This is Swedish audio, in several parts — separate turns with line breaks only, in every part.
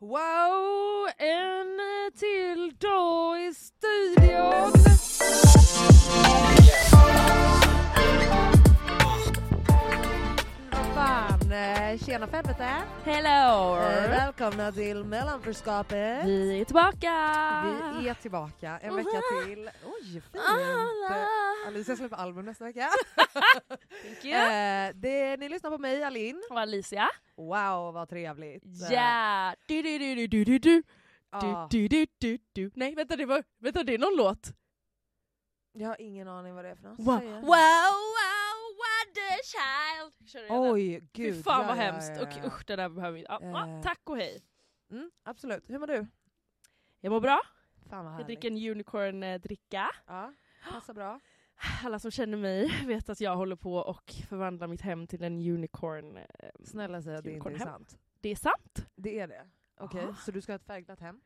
Wow! En eh, till dag i studion! Vad fan, eh, tjena för helvete!
Hello!
Eh, Välkomna till mellanförskapet!
Vi är tillbaka!
Vi är tillbaka en vecka till. Oj, fint! Alicia släpper album nästa vecka.
Thank you!
Eh, det, ni lyssnar på mig, Alin.
Och Alicia.
Wow, vad trevligt. Eh,
Yeah! Du, du, du, du, du, du,
Ja,
du, du, du, du. Nej vänta det, var, vänta det är någon låt.
jag har ingen aning vad det är för något.
Wow,
Säg
wow,
igen.
wow, what a child! Kör igen den.
Oj, gud.
Fy fan
ja,
vad
ja,
hemskt.
ja, ja.
Och usch det där behöver vi inte. Ja, ja,
Eh.
tack och hej.
Mm, absolut. Hur mår du?
Jag mår bra.
Fan vad
Jag
härligt.
dricker en unicorn-dricka.
Ja, passar bra.
Alla som känner mig vet att jag håller på och förvandla mitt hem till en unicorn. eh,
Snälla säg att det inte är
Unicorn hem.
sant.
Det är sant.
Det är det? Okej,
Ja.
så du ska ha ett färgglatt hem?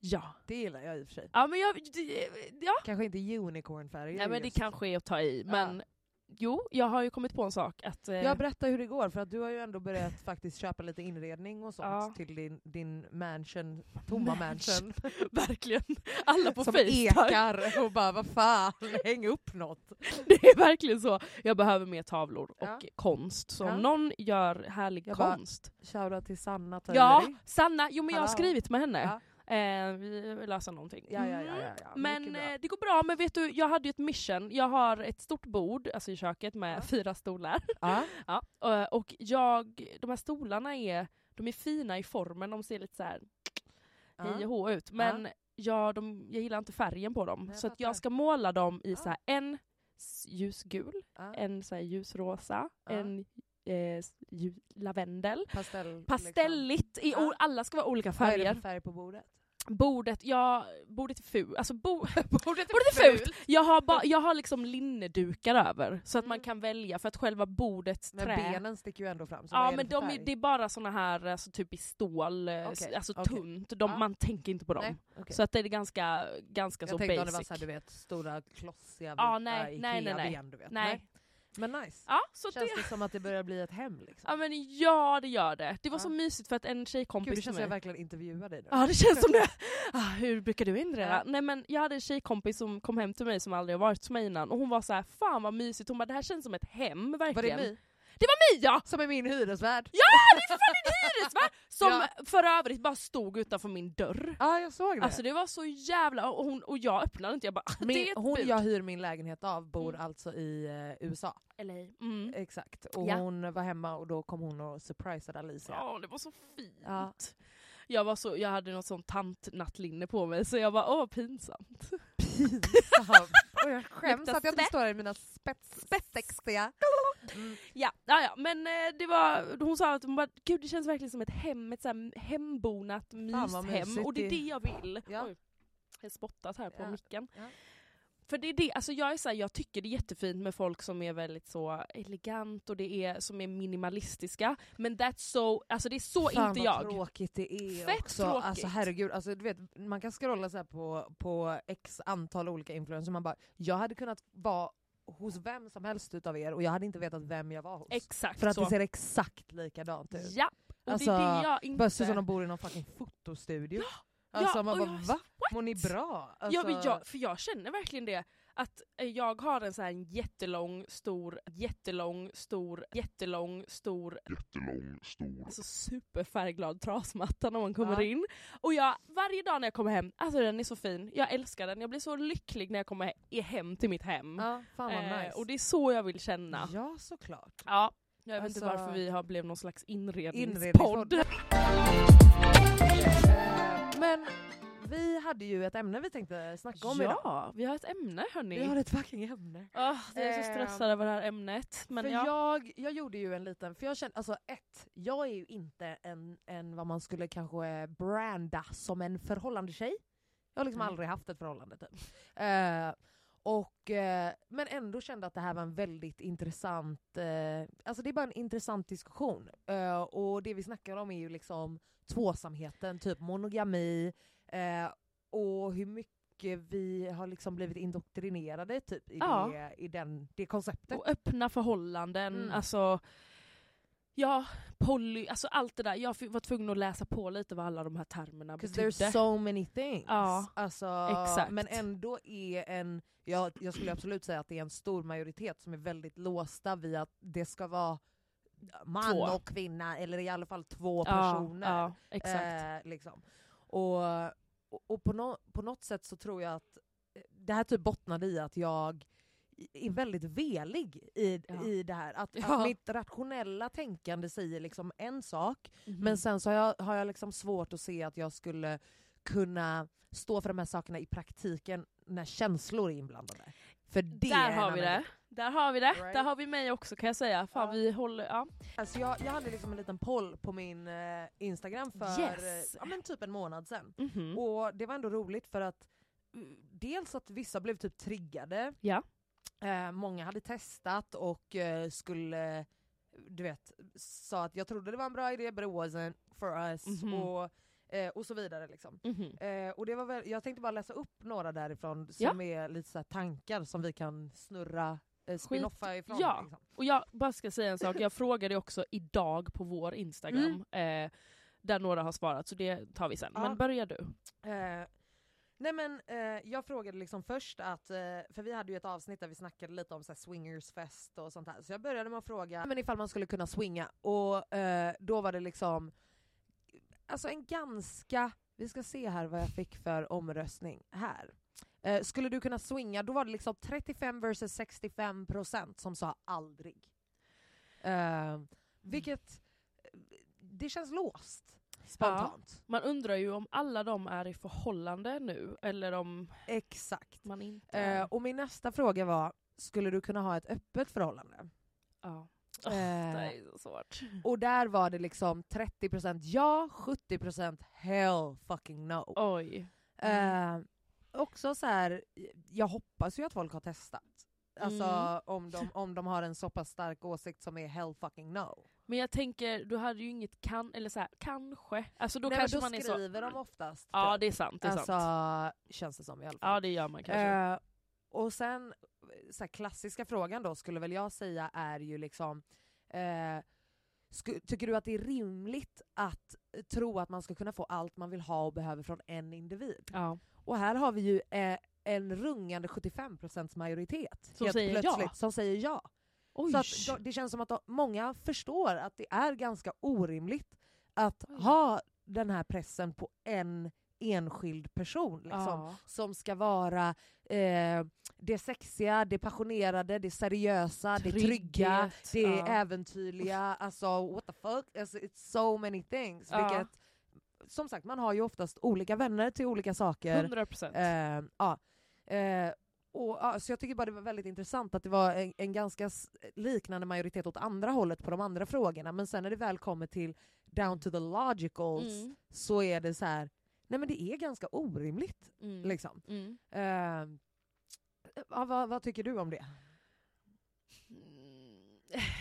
Ja.
Det gillar jag i och för sig.
Ja men jag, det- ja.
Kanske inte unicornfärger.
Nej men det
just.
kanske är att ta i. Men jo, jag har ju kommit på en sak. Att, eh,
Jag berättar hur det går, för att du har ju ändå börjat faktiskt köpa lite inredning och sånt
Ja.
till din, din mansion, tomma mansion.
verkligen. Alla på
som
Facebook.
ekar och bara vad fan, häng upp något.
Det är verkligen så. Jag behöver mer tavlor och
Ja.
konst. Så om
Ja.
någon gör härlig
Jag bara,
konst.
Shoutout till Sanna
ja,
Törneri.
Sanna. Jo men jag har
Hallå.
skrivit med henne. Eh, vi löser någonting.
Ja, ja, ja, ja, ja.
Men
Mycket bra.
eh, det går bra, men vet du, jag hade ju ett mission. Jag har ett stort bord alltså i köket med
Ja.
fyra stolar.
ja.
Ja. eh, Och jag, de här stolarna är, de är fina i formen, de ser lite så här hej och hå ut. Men jag, de, jag gillar inte färgen på dem.
Nej, jag
så att
fattar.
jag ska måla dem i
Ja.
så här en s- ljusgul,
ja, ja.
en så här ljusrosa,
Ja.
en eh, s- ljus, lavendel.
Pastell.
Pastelligt, i
Ja.
o- alla ska vara olika
Liksom. Vad är det
färger.
för färg på bordet?
Bordet, ja, bordet är fult. Alltså bo,
Bordet
Bordet är fult! Jag har, ba, jag har liksom linnedukar över, så att man
Mm.
kan välja för att själva bordets
Men
trä...
benen sticker ju ändå fram. Så vad
ja
är
men
det för
de är,
färg?
det är bara såna här alltså, typ i stål, eh,
Okej,
s- alltså
okej.
tunt. De,
Ja.
Man tänker inte på dem.
Nej, okej.
Så att det är ganska, ganska
jag
så
tänkte
basic.
om det var såhär du vet, stora klossiga
Ja,
äh,
nej, nej, nej, nej.
Ikea-ben, du vet.
Nej.
Men nice.
Ja, så att det,
Känns det som att det börjar bli ett hem liksom?
ja, men ja det gör det. Det var
Ja.
så mysigt för att en tjejkompis
Gud det känns som
till
jag
mig...
verkligen intervjuar dig nu.
Ja det känns som det. Ah, hur brukar du inreda?
Ja.
Nej men jag hade en tjejkompis som kom hem till mig som aldrig har varit hos mig innan och hon var så här: fan vad mysigt, hon bara det här känns som ett hem verkligen.
Var det ni?
Mia!
Som är min hyresvärd?
Ja, det är fan en hyresvärd! Som för övrigt bara stod utanför min dörr.
Ja jag såg det.
Alltså det var så jävla... Och, hon, och jag öppnade inte, jag bara "Ah,
Min,
det är ett
hon
bud.
jag hyr min lägenhet av bor
Mm.
alltså i eh, USA.
LA.
Eh,
Mm.
Exakt. Och
Ja.
hon var hemma och då kom hon och surprisade Alicia.
Ja, det var så fint.
Ja.
Jag, var så, jag hade något sånt tantnattlinne på mig så jag bara åh pinsamt.
Pinsamt. och jag skäms
Luktar
att jag inte
svett.
står här i mina spets, spetsiga
Ja, ja, ja. men eh, det var, hon sa att hon bara, gud det känns verkligen som ett hem, ett så här hembonat
vad
myshem
mysigt
och det är
det-
det jag vill.
Ja.
Oj, jag har spottat här på
Ja,
micken.
ja.
För det är det, alltså jag är så här, jag tycker det är jättefint med folk som är väldigt så elegant och det är som är minimalistiska. Men that's so, alltså det är så
Fan
inte
vad
jag.
tråkigt det är
Fett
också.
tråkigt.
Alltså herregud, alltså, du vet, man kan scrolla så här på, på x antal olika influencers och man bara, jag hade kunnat vara hos vem som helst utav er och jag hade inte vetat vem jag var hos.
Exakt
För att
så.
det ser exakt likadant ut.
Ja, och
Alltså,
det är det jag inte...
Bara ser ut som de bor i någon fucking fotostudio. alltså
ja,
man
och
bara,
jag-
va?
What?
Mår ni bra? Alltså,
Ja, men jag, för jag känner verkligen det. Att eh, jag har en sån här jättelång, stor, jättelång, stor, jättelång, stor,
jättelång, stor.
alltså superfärgglad trasmatta när man kommer
Ja.
in. Och jag, varje dag när jag kommer hem, alltså den är så fin, jag älskar den, jag blir så lycklig när jag kommer he- i- hem till mitt hem.
Ja, fan vad
Eh,
nice.
och det är så jag vill känna. Ja.
Ja såklart.
Jag vet inte
Alltså-
varför vi har blivit någon slags
Inredningspodd.
inredningspodd.
Eh, Men vi hade ju ett ämne vi tänkte snacka om idag.
Ja, vi har ett ämne hörni.
Vi har ett fucking ämne.
Åh, jag är så
Eh,
stressad över det här ämnet. Men
för
ja.
jag, jag gjorde ju en liten, för jag kände, alltså ett, jag är ju inte en, en vad man skulle kanske branda som en förhållandetjej. Jag har liksom
Nej.
aldrig haft ett förhållande typ. Eh, och, eh, men ändå kände att det här var en väldigt intressant, eh, alltså det är bara en intressant diskussion. Eh, och det vi snackar om är ju liksom tvåsamheten, typ monogami, eh, och hur mycket vi har liksom blivit indoktrinerade typ, i,
Ja.
det, i den, det konceptet.
Och öppna förhållanden,
Mm.
alltså Ja, poly, alltså allt det där. Jag fick- var tvungen att läsa på lite vad alla de här termerna
Because
betydde.
there's so many things.
typ Ja,
Alltså,
exakt.
Men ändå är en, jag, jag skulle absolut säga att det är en stor majoritet som är väldigt låsta vid att det ska vara man
Två.
och kvinna, eller i alla fall två
Ja,
personer.
Ja, exakt.
Eh, liksom. Och, och- och på, nå på något sätt så tror jag att eh, det här typ bottnade i att jag i- är väldigt velig i,
Ja.
i det här. Att,
Ja.
att mitt rationella tänkande säger liksom en sak,
Mhm.
men sen så har jag, har jag liksom svårt att se att jag skulle kunna stå för de här sakerna i praktiken när känslor är inblandade. För det är
där
en
har vi
annan
det. Där har vi det.
Right.
Där har vi mig också kan jag säga. Fan,
Ja.
vi håller... Ja.
Alltså jag, jag hade liksom en liten poll på min eh, Instagram för
Yes.
eh, ja, men typ en månad sedan.
Mhm.
Och det var ändå roligt för att mm, dels att vissa blev typ triggade.
Ja.
Eh, många hade testat och eh, skulle, du vet, sa att jag trodde det var en bra idé but it wasn't for us.
Mhm.
Och, eh, och så vidare liksom.
Mhm.
Eh, och det var väl, jag tänkte bara läsa upp några därifrån
Ja.
som är lite så här tankar som vi kan snurra eh, spinoffa ifrån.
ja.
Liksom.
Och jag bara ska säga en sak, jag frågade också idag på vår Instagram, eh, där några har svarat, så det tar vi sen.
Mm. Ja.
Men börja du.
Eh, nej men eh, jag frågade liksom först att, eh, för vi hade ju ett avsnitt där vi snackade lite om så här swingersfest och sånt här. Så jag började med att fråga men ifall man skulle kunna swinga och eh, då var det liksom, alltså en ganska, vi ska se här vad jag fick för omröstning här. Eh, skulle du kunna swinga, då var det liksom 35 versus 65 procent som sa aldrig. Eh, vilket, eh, det känns låst spontant.
Man undrar ju om alla de är i förhållande nu, eller om
Exakt.
man inte är.
Eh, och min nästa fråga var, skulle du kunna ha ett öppet förhållande?
ja.
Eh,
Det är så svårt.
och där var det liksom 30% ja, 70% hell fucking no.
Oj. Mm.
Eh, också så här, jag hoppas ju att folk har testat. Alltså
Mm.
om, de, om de har en så pass stark åsikt som är hell fucking no.
Men jag tänker, du hade ju inget kan, eller så här, kanske. Alltså då
Nej, men
kanske
då
man är så...
skriver de oftast.
Ja
typ.
det är sant, det är
alltså,
sant.
känns det som i alla fall.
Ja det gör man kanske.
Eh, och sen, så här, klassiska frågan då skulle väl jag säga är ju liksom, eh, sku, tycker du att det är rimligt att tro att man ska kunna få allt man vill ha och behöver från en individ?
ja.
Och här har vi ju eh, en rungande 75% majoritet
Som
helt
säger ja.
plötsligt som säger ja.
Oj.
Så att, då- det känns som att de, många förstår att det är ganska orimligt att
Oj.
ha den här pressen på en enskild person. Liksom
ja.
som ska vara eh, det sexiga, det passionerade, det seriösa, det trygga,
Trygghet,
det
ja.
äventyrliga. Alltså what the fuck, alltså, it's so many things.
Ja.
Vilket, som eh,
Mm,
sagt, man har ju oftast olika vänner till olika saker.
100%.
Eh, ja. eh, Och, ja, så jag tycker bara det var väldigt intressant att det var en, en ganska s- liknande majoritet åt andra hållet på de andra frågorna. Men sen när det väl kommer till down to the logicals
Mm.
så är det så här, nej men det är ganska orimligt.
Mm.
Liksom.
Mm.
Eh, ja, vad, vad tycker du om det?
Mm.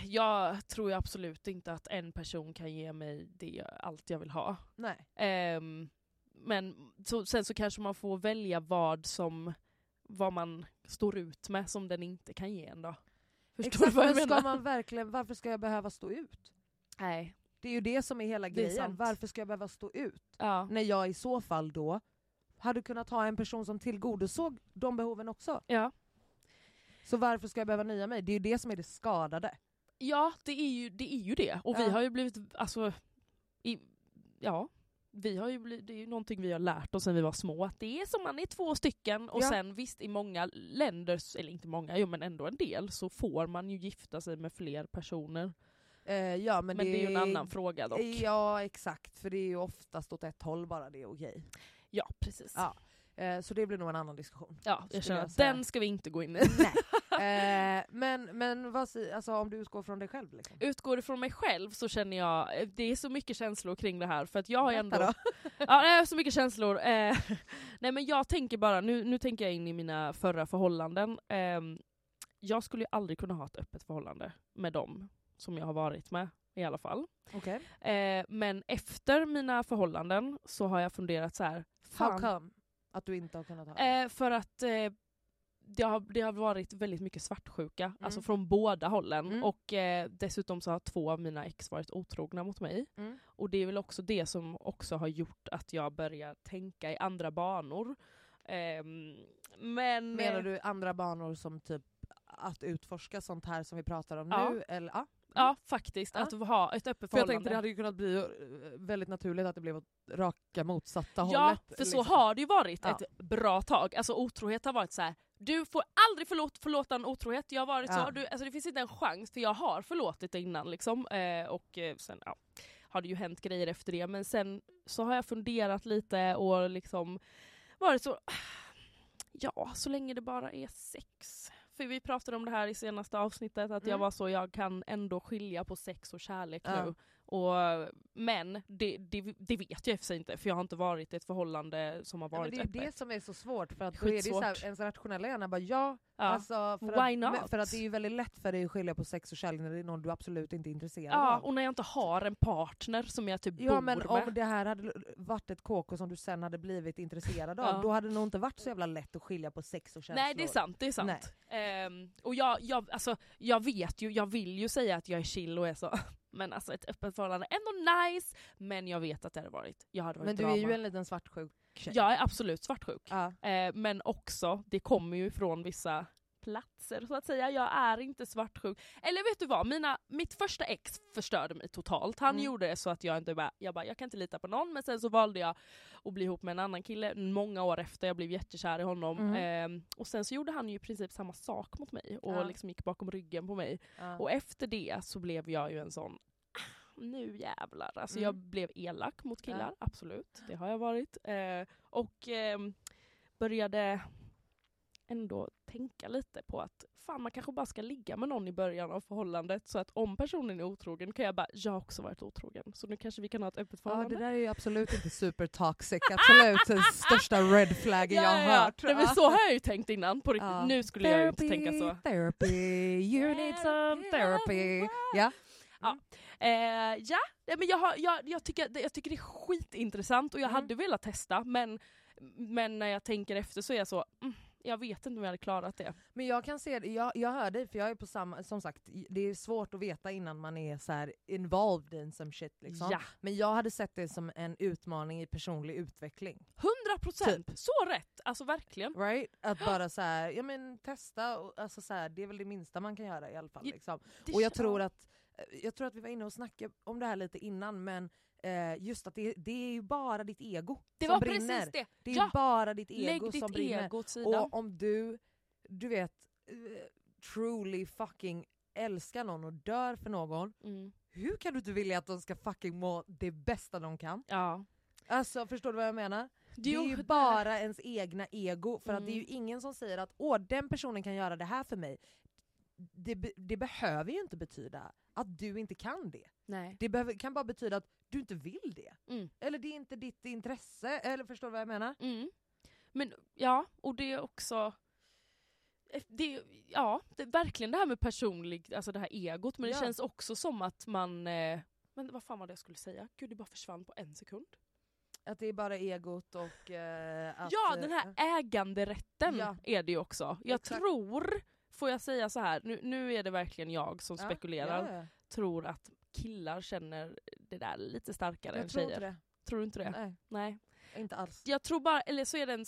Jag tror ju absolut inte att en person kan ge mig det, jag- allt jag vill ha.
Nej.
Ehm, men så, sen så kanske man får välja vad som vad man står ut med som den inte kan ge en då. Förstår du vad jag
men
menar?
Ska man verkligen, varför ska jag behöva stå ut?
Nej.
Det är ju det som är hela
Det är
grejen.
sant.
varför ska jag behöva stå ut?
Ja.
När jag i så fall då hade kunnat ha en person som tillgodosåg de behoven också.
Ja.
Så varför ska jag behöva nöja mig? Det är ju det som är det skadade.
ja, det är ju det. Är ju det. Och
Ja.
vi har ju blivit, alltså, i, ja. Vi har ju blivit, det är ju någonting vi har lärt oss sen vi var små, att det är som man är två stycken och
Ja.
sen visst i många länder, eller inte många, jo men ändå en del, så får man ju gifta sig med fler personer.
Eh, ja, men,
Men, det, är ju en annan fråga dock.
Ja exakt, för det är ju oftast åt ett håll bara det är okej.
Ja, precis.
Ja. Eh, så det blir nog en annan diskussion.
Ja,
Skulle
jag känner
jag
att
säga.
den ska vi inte gå in i.
Eh, men men vad, si- alltså, om du utgår från dig själv? Liksom.
Utgår det från mig själv så känner jag, eh, det är så mycket känslor kring det här för att jag har ju ändå...
Berätta då.
Ja, nej, så mycket känslor. Eh, nej men jag tänker bara, nu, nu tänker jag in i mina förra förhållanden. Ehm, jag skulle ju aldrig kunna ha ett öppet förhållande med dem som jag har varit med i alla fall.
Okej.
Eh, men efter mina förhållanden så har jag funderat så här.
How
fan,
come att du inte har kunnat ha det?
Eh, för att eh, det, har, det har varit väldigt mycket svartsjuka, alltså från båda hållen.
Mm.
Och eh, dessutom så har två av mina ex varit otrogna mot mig.
Mm.
Och det är väl också det som också har gjort att jag börjar tänka i andra banor. Ehm, men...
Menar du andra banor som typ att utforska sånt här som vi pratar om
Ja.
nu? Eller, ja.
Ja, faktiskt.
Ja.
Att ha ett öppet
För jag
förhållande.
tänkte det hade ju kunnat bli eh, väldigt naturligt att det blev åt raka motsatta
Ja,
hållet. liksom.
för så har det ju varit
Ja.
ett bra tag. Alltså otrohet har varit så här. du får aldrig förlåt, förlåta en otrohet. Jag har varit
Ja.
så, du, alltså det finns inte en chans för jag har förlåtit det innan liksom. Eh, och eh, sen ja, har det ju hänt grejer efter det. Men sen så har jag funderat lite och liksom varit så, ja så länge det bara är sex. För vi pratade om det här i senaste avsnittet, att jag
Mm.
var så, jag kan ändå skilja på sex och kärlek
Ja.
nu. Och, men det, det, det vet jag i och för sig inte, för jag har inte varit i ett förhållande som har
Ja, men
varit
det är ju det
öppet.
som är så svårt för att då är det ju så här,
Skitsvårt.
ens rationella hjärna bara ja,
Ja.
alltså för
Why
att,
not?
men- för att det är ju väldigt lätt för dig att skilja på sex och kärlek när det är någon du absolut inte är intresserad
ja,
av.
och när jag inte har en partner som jag typ
Ja
bor
men
med.
om det här hade l- varit ett KK som du sen hade blivit intresserad av,
Ja.
då hade det nog inte varit så jävla lätt att skilja på sex och känslor.
Nej det är sant, det är sant. Ehm, och jag, jag, alltså, jag vet ju, jag vill ju säga att jag är chill och är så, men alltså ett öppet förhållande är ändå nice, men jag vet att det hade varit, jag hade varit
Men du
drama.
är ju en liten svartsjuk tjej.
Jag är absolut svartsjuk.
Ja.
Eh, men också, det kommer ju från vissa platser så att säga. Jag är inte svartsjuk. Eller vet du vad, Mina, mitt första ex förstörde mig totalt. Han
Mm.
gjorde det så att jag inte bara, jag bara, jag kan inte lita på någon. Men sen så valde jag att bli ihop med en annan kille många år efter. Jag blev jättekär i honom.
Mm.
Eh, och sen så gjorde han ju i princip samma sak mot mig och
Ja.
liksom gick bakom ryggen på mig.
Ja.
Och efter det så blev jag ju en sån "Ah, nu jävlar. Alltså
Mm.
jag blev elak mot killar, absolut. Det har jag varit. Eh, och ehm, började ändå tänka lite på att fan man kanske bara ska ligga med någon i början av förhållandet så att om personen är otrogen kan jag bara, jag har också varit otrogen så nu kanske vi kan ha ett öppet
Ja,
förhållande.
det där är ju absolut inte supertoxic. Absolut den största red flaggen jag har hört.
Nej, men
Ja.
så har jag ju tänkt innan på riktigt.
Ja.
Nu skulle jag ju inte tänka så.
Therapy, you need some therapy. Ja.
Eh, ja, Nej, men jag, har, jag, jag, tycker, det- jag tycker det är skitintressant och jag
Mm.
hade velat testa men, men när jag tänker efter så är jag så, mm, jag vet inte om jag hade klarat det.
Men jag kan se, det- jag, jag hör dig för jag är på samma, som sagt det är svårt att veta innan man är så här involved in some shit liksom.
Ja,
Men jag hade sett det som en utmaning i personlig utveckling.
100 procent!
Typ.
Så rätt! Alltså verkligen.
Right? Att bara så här, ja men testa, och, alltså så här, det är väl det minsta man kan göra i alla fall.
Ja,
Liksom.
Det
Och jag
kän-
tror att, eh, jag tror att vi var inne och snackade om det här lite innan men eh, just att det, det är ju bara ditt ego
det
som
var
brinner.
precis det!
Det är ju
Ja,
bara ditt ego
Lägg
som
ditt
brinner.
ego åt sidan.
Och om du, du vet, eh, truly fucking älskar någon och dör för någon,
Mm.
hur kan du inte vilja att de ska fucking må det bästa de kan?
Ja.
Alltså förstår du vad jag menar? Det är ju bara ens egna ego, för att det är ju
Mm.
ingen som säger att åh den personen kan göra det här för mig. Det, be- det behöver ju inte betyda att du inte kan det.
Nej.
Det behöver, kan bara betyda att du inte vill det.
Mm.
Eller det är inte ditt intresse, eller förstår du vad jag menar?
Mm. Men ja, och det är också... eh, Det, är- ja, det, är verkligen det här med personlig, alltså det här egot, men
Ja.
det känns också som att man... Eh, men vad fan var det jag skulle säga? Gud, det bara försvann på en sekund.
Att det är bara egot och eh, att...
ja, den här
eh,
äganderätten
Ja.
är det ju också. Jag
Exakt.
tror, får jag säga så här, nu, nu är det verkligen jag som
ja,
spekulerar,
ja, ja.
tror att killar känner det där lite starkare än
Jag tror
tjejer.
inte det.
Tror du inte det?
Nej,
Nej.
inte alls.
Jag tror bara, eller så är det en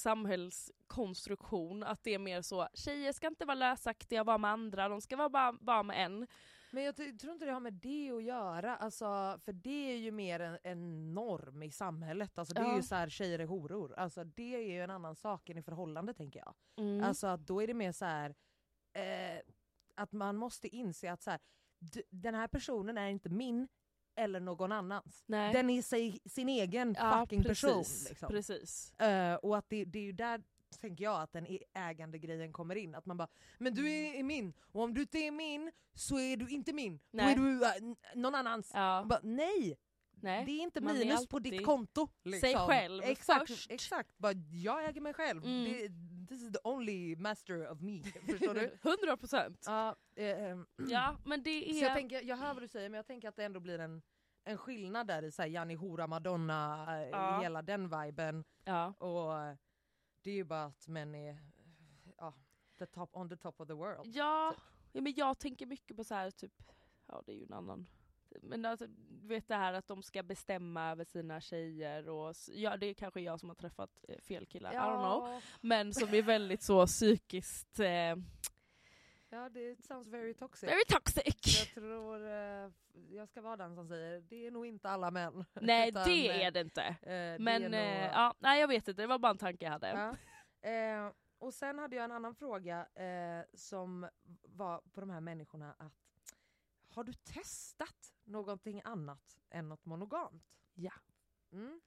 samhällskonstruktion, att det är mer så, tjejer ska inte vara lösaktiga, vara med andra, de ska vara bara, bara med en.
Men jag ty- tror inte det har med det att göra, alltså, för det är ju mer en, en norm i samhället. Alltså, det är
Ja.
ju så här, tjejer är horor. Alltså, det är ju en annan sak än i förhållande tänker jag.
Mm.
Alltså att då är det mer så här eh, att man måste inse att så här, d- den här personen är inte min eller någon annans.
Nej.
Den är sig, sin egen
Ja,
fucking person.
precis,
Liksom.
Precis.
Eh, och att det, det är ju där tänker jag att den i- ägande grejen kommer in. Att man bara, men
Mm.
du är, är min och om du inte är min så är du inte min. Då
Nej.
är du eh, n- någon annans.
Ja,
Man Bara, nej,
nej.
det är inte
man är
minus på ditt
alltid-
konto. Liksom.
Sig själv
exakt,
först.
Exakt, bara, jag äger mig själv.
Mm.
Det, this is the only master of me. Förstår du?
100 procent.
Ja, eh, ehm,
Ja, men det är...
så jag, tänker, jag hör vad du säger men jag tänker att det ändå blir en, en skillnad där i så här, Janni Hora Madonna, eh,
Ja.
hela den viben.
ja.
Och eh, det är ju bara att män är ja, the top, on the top of the world.
Ja, ja, men jag tänker mycket på så här typ, ja det är ju en annan. Men alltså, du vet det här att de ska bestämma över sina tjejer och, s- ja det är kanske jag som har träffat eh, fel killar, I don't know. Men som är väldigt så psykiskt, eh,
ja, det sounds very toxic.
very toxic.
Jag tror, eh, jag ska vara den som säger, det är nog inte alla män.
Nej
Utan,
det
eh,
är det inte.
eh, det
Men eh,
är nog-
ja, nej jag vet inte, det var bara en tanke jag hade.
Ja. Eh, och sen hade jag en annan fråga eh, som var på de här människorna att har du testat någonting annat än något monogamt?
Ja.
Mm.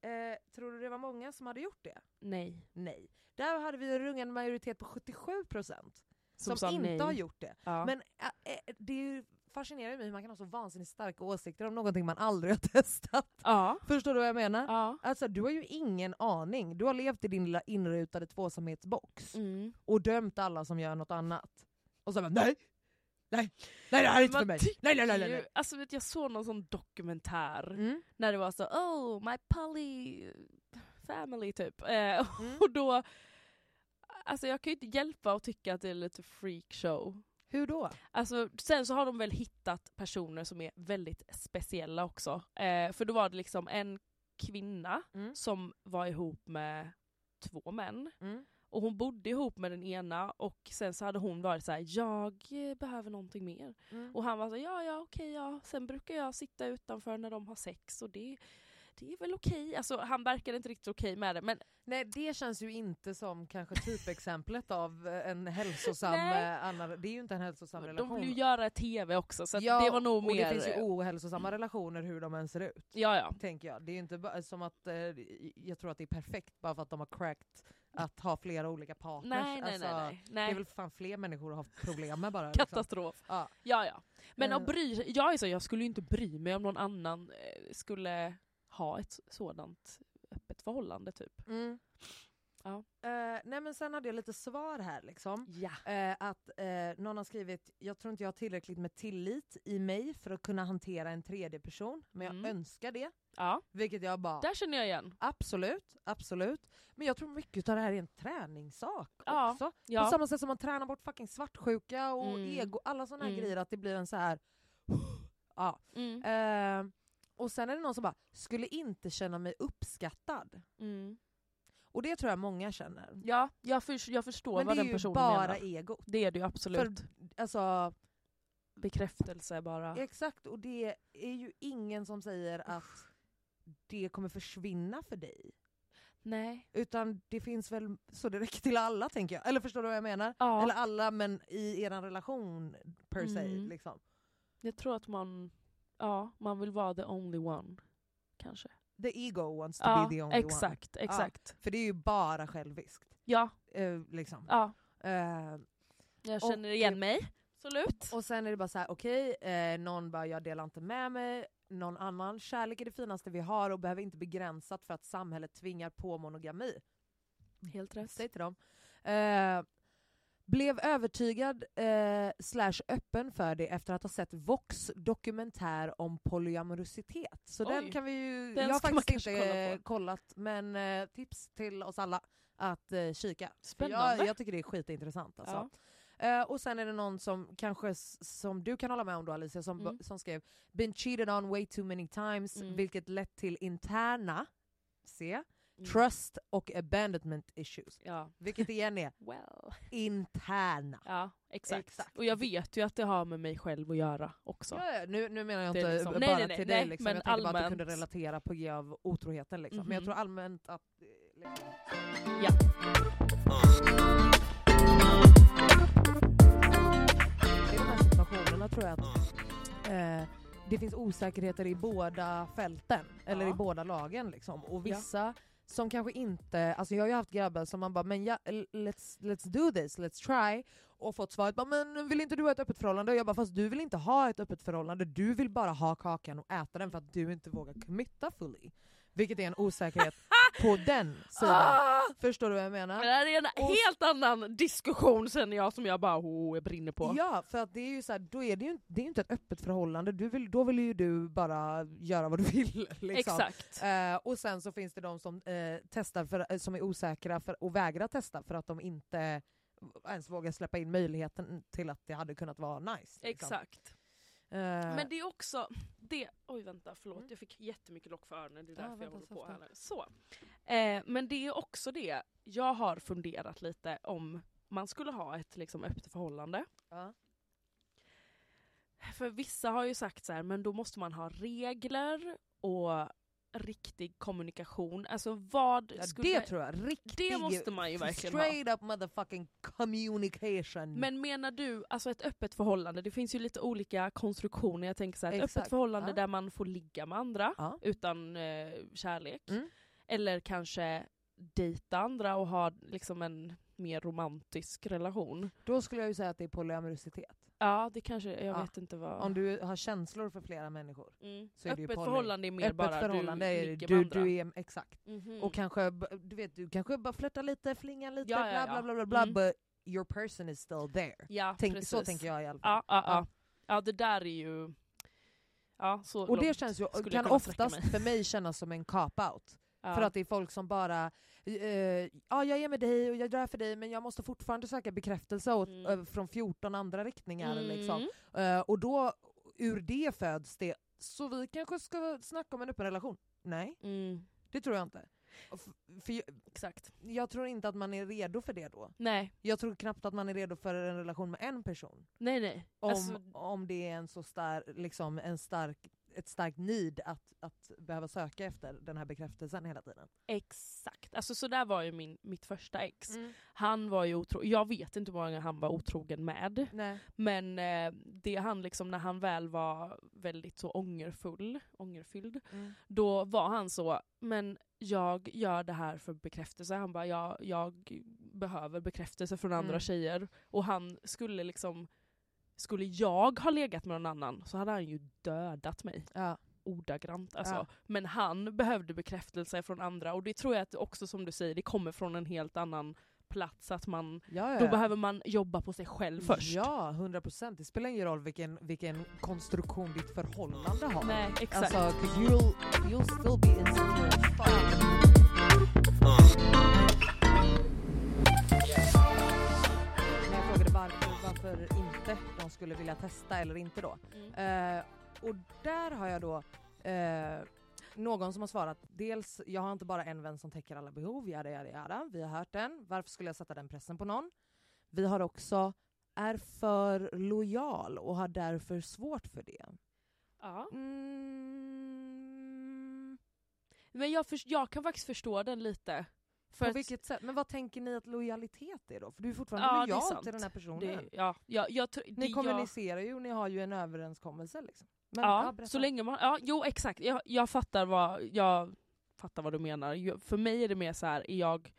Eh, tror du det var många som hade gjort det?
Nej.
Nej. Där hade vi en rungande majoritet på 77% som,
sa
inte
nej.
har gjort det.
Ja.
Men eh, eh, det är ju fascinerar mig hur man kan ha så vansinnigt starka åsikter om någonting man aldrig har testat.
ja.
Förstår du vad jag menar?
ja.
Alltså du har ju ingen aning. Du har levt i din lilla inrutade tvåsamhetsbox
Mm.
och dömt alla som gör något annat. Och så bara nej! Nej, nej det här är inte för mig! Nej, nej, nej, nej, nej.
Alltså vet jag såg någon sån dokumentär
Mm.
när det var så oh my poly family typ. Eh,
Mm.
och då, alltså jag kan ju inte hjälpa att tycka att det är lite freakshow.
Hur då?
Alltså, sen så har de väl hittat personer som är väldigt speciella också. Eh, för då var det liksom en kvinna
Mm.
som var ihop med två män.
Mm.
Och hon bodde ihop med den ena och sen så hade hon varit så här: jag eh, behöver någonting mer.
Mm.
Och han var så ja ja okej ja. Sen brukar jag sitta utanför när de har sex och det, det är väl okej. Alltså han verkade inte riktigt okej med det. Men
Nej det känns ju inte som kanske typexemplet av eh, en hälsosam...
Nej.
eh, annan, det är ju inte en hälsosam
de
relation.
vill ju göra tv också så att
Ja,
det var nog
och
mer...
det finns ju ohälsosamma relationer hur de än ser ut.
ja ja.
Tänker jag. Det är ju inte bara som att eh, jag tror att det är perfekt bara för att de har cracked att ha flera olika partners.
Nej nej
Alltså,
nej nej.
Det
nej.
är väl fan fler människor att ha problem med bara. liksom.
Katastrof.
Ja.
Ja, ja. Men
Eh.
att bry, jag, är så, jag skulle ju inte bry mig om någon annan eh, skulle ha ett sådant öppet förhållande typ.
Mm.
Ja.
Eh, nej men sen hade jag lite svar här liksom.
Ja.
Eh, att eh, någon har skrivit, jag tror inte jag har tillräckligt med tillit i mig för att kunna hantera en tredje person, men jag
Mm.
önskar det.
ja.
Vilket jag bara,
Där känner jag igen.
absolut, absolut. Men jag tror mycket av det här är en träningssak
Ja.
också. På
Ja.
samma sätt som man tränar bort fucking svartsjuka och
Mm.
ego, alla sådana här
Mm.
grejer, att det blir en så här. ja.
Mm.
Eh, och sen är det någon som bara, skulle inte känna mig uppskattad.
Mm.
Och det tror jag många känner.
ja jag, förs- jag förstår
Men
vad
det är
den
ju
personen
bara
menar.
egot.
Det är det ju absolut.
För- Alltså,
Bekräftelse bara.
Exakt, och det är ju ingen som säger att det kommer försvinna för dig.
Nej.
Utan det finns väl så det räcker till alla tänker jag. Eller förstår du vad jag menar?
Ja.
Eller alla men i er relation per se.
Mm.
Liksom.
Jag tror att man, ja, man vill vara the only one. Kanske.
the ego wants to
ja,
be the only one.
exakt, exakt.
För det är ju bara själviskt.
Ja,
Eh, liksom.
ja.
Eh,
Jag
Och-
känner igen mig. Absolut.
och sen är det bara så här: okej, eh, någon bara jag delar inte med mig, någon annan. Kärlek är det finaste vi har och behöver inte begränsat för att samhället tvingar på monogami.
Helt rätt.
Säg till dem. Eh, blev övertygad eh, slash öppen för det efter att ha sett Vox dokumentär om polyamorositet. Så den
Oj.
kan vi ju...
Den
jag har
ska man
faktiskt
kanske
inte
kolla på.
eh, kollat, men eh, tips till oss alla att eh, kika. För
Spännande.
Jag, jag tycker det är skitintressant alltså.
Ja.
Eh, och sen är det någon som kanske, s- som du kan hålla med om då Alicia, som,
Mm.
som skrev “Been cheated on way too many times,
Mm.
vilket lett till interna, se,
Mm.
trust och abandonment issues”.
Ja.
Vilket igen är
Well.
interna.
Ja, exakt.
Exakt.
Och jag vet ju att det har med mig själv att göra också.
Ja, ja, nu, nu menar jag
Det är
inte
liksom-
bara
nej, nej, nej,
till dig,
nej,
liksom.
men
jag tänkte bara att du
allmänt.
kunde relatera på grund av otroheten. Liksom. Men jag
Mhm.
tror allmänt att... eh, Liksom.
Ja.
I de här situationerna tror jag att eh, det finns osäkerheter i båda fälten, eller
Ja.
i båda lagen. Liksom. Och vissa som kanske inte... Alltså jag har ju haft grabbar som man bara men ja, let's, let's do this, let's try. Och fått svaret bara men vill inte du ha ett öppet förhållande? Och jag bara fast du vill inte ha ett öppet förhållande, du vill bara ha kakan och äta den för att du inte vågar committa fully. Vilket är en osäkerhet på den sidan.
Ah!
Förstår du vad jag menar?
Men Det här är en
Och-
helt annan diskussion sen jag som jag bara oh, jag brinner på.
Ja, för att det är ju så här, då är det ju, det är ju inte ett öppet förhållande, du vill, då vill ju du bara göra vad du vill. Liksom.
Exakt.
Eh, och sen så finns det de som eh, testar för, eh, som är osäkra för, och vägrar testa för att de inte ens vågar släppa in möjligheten till att det hade kunnat vara nice. liksom.
Exakt.
Eh,
Men det är också det... Oj vänta, förlåt.
Mm.
Jag fick jättemycket lock för öronen. Det är
Ja,
därför jag
vänta,
håller på
softa.
här. nu. Så. Eh, men det är också det. Jag har funderat lite om man skulle ha ett liksom, öppet förhållande.
ja.
För vissa har ju sagt så här, men då måste man ha regler och riktig kommunikation. Alltså vad
Ja,
skulle...
det tror jag. Riktig
det måste man ju verkligen ha.
straight up motherfucking communication.
Men menar du, alltså ett öppet förhållande, det finns ju lite olika konstruktioner. Jag tänker så här, ett
Exakt,
öppet förhållande
ja.
där man får ligga med andra
Ja.
utan eh, kärlek.
Mm.
Eller kanske dejta andra och ha liksom en mer romantisk relation.
Då skulle jag ju säga att det är polyamorositet.
Ja, det kanske, jag
Ja.
vet inte vad...
Om du har känslor för flera människor.
mm.
så är det ju
Öppet
poly.
förhållande är mer
Öppet
bara
förhållande
du
är
ligger
du,
med andra.
du är, exakt.
Mhm.
Och kanske, b- du vet, du kanske bara flörtar lite, flingar lite,
Ja,
bla,
ja, ja.
bla bla bla bla,
Mm.
but your person is still there.
ja,
Tänk, så
precis.
tänker jag i alla fall.
Ja, ja,
Ja.
ja. ja det där är ju... Ja, så
Och det
långt
känns ju,
skulle jag
kan
kunna sträcka
oftast
mig.
för mig kännas som en cop-out.
Ja.
För att det är folk som bara, eh, ja jag är med dig och jag drar för dig men jag måste fortfarande söka bekräftelse åt,
Mm.
ö- från 14 andra riktningar. Liksom.
Mm.
Eh, och då, ur det föds det, så vi kanske ska snacka om en öppen relation? Nej,
Mm.
det tror jag inte. Och f- För jag,
Exakt.
jag tror inte att man är redo för det då.
Nej,
Jag tror knappt att man är redo för en relation med en person.
nej, nej.
Om,
Alltså,
om det är en så star, liksom en stark, ett starkt need att, att behöva söka efter den här bekräftelsen hela tiden.
Exakt. Alltså så där var ju min, mitt första ex. Han var ju otrogen, jag vet inte hur många han var otrogen med.
Nej.
Men eh, det han liksom, när han väl var väldigt så ångerfull, ångerfylld,
Mm.
då var han så, men jag gör det här för bekräftelse. Han bara, jag, jag behöver bekräftelse från andra
Mm.
tjejer. Och han skulle liksom, skulle jag ha legat med någon annan så hade han ju dödat mig
Ja.
ordagrant. Alltså.
Ja.
Men han behövde bekräftelse från andra och det tror jag att också som du säger, det kommer från en helt annan plats. Att man,
Ja, ja,
Då
ja.
behöver man jobba på sig själv först.
Ja, 100 procent. Det spelar ingen roll vilken, vilken konstruktion ditt förhållande har.
Nej, exakt.
Alltså, 'cause you'll, you'll still be insecure as fuck. När jag frågade varför, varför inte de skulle vilja testa eller inte då.
Mm.
Eh, och där har jag då eh, någon som har svarat dels, jag har inte bara en vän som täcker alla behov, jada jada jada, vi har hört den, varför skulle jag sätta den pressen på någon? Vi har också, är för lojal och har därför svårt för det.
Ja.
Mm,
Men jag, först- jag kan faktiskt förstå den lite. För
på
att-
vilket sätt? Men vad tänker ni att lojalitet är då? För du är fortfarande
Ja, det är
lojal
sant.
till den här personen.
det, ja, jag, jag, tror- det,
Ni
jag,
kommunicerar ju och ni har ju en överenskommelse. Liksom. Men,
ja,
berätta.
så länge man, ja, jo exakt, jag, jag fattar vad, jag fattar vad du menar. Ju- För mig är det mer så här, är jag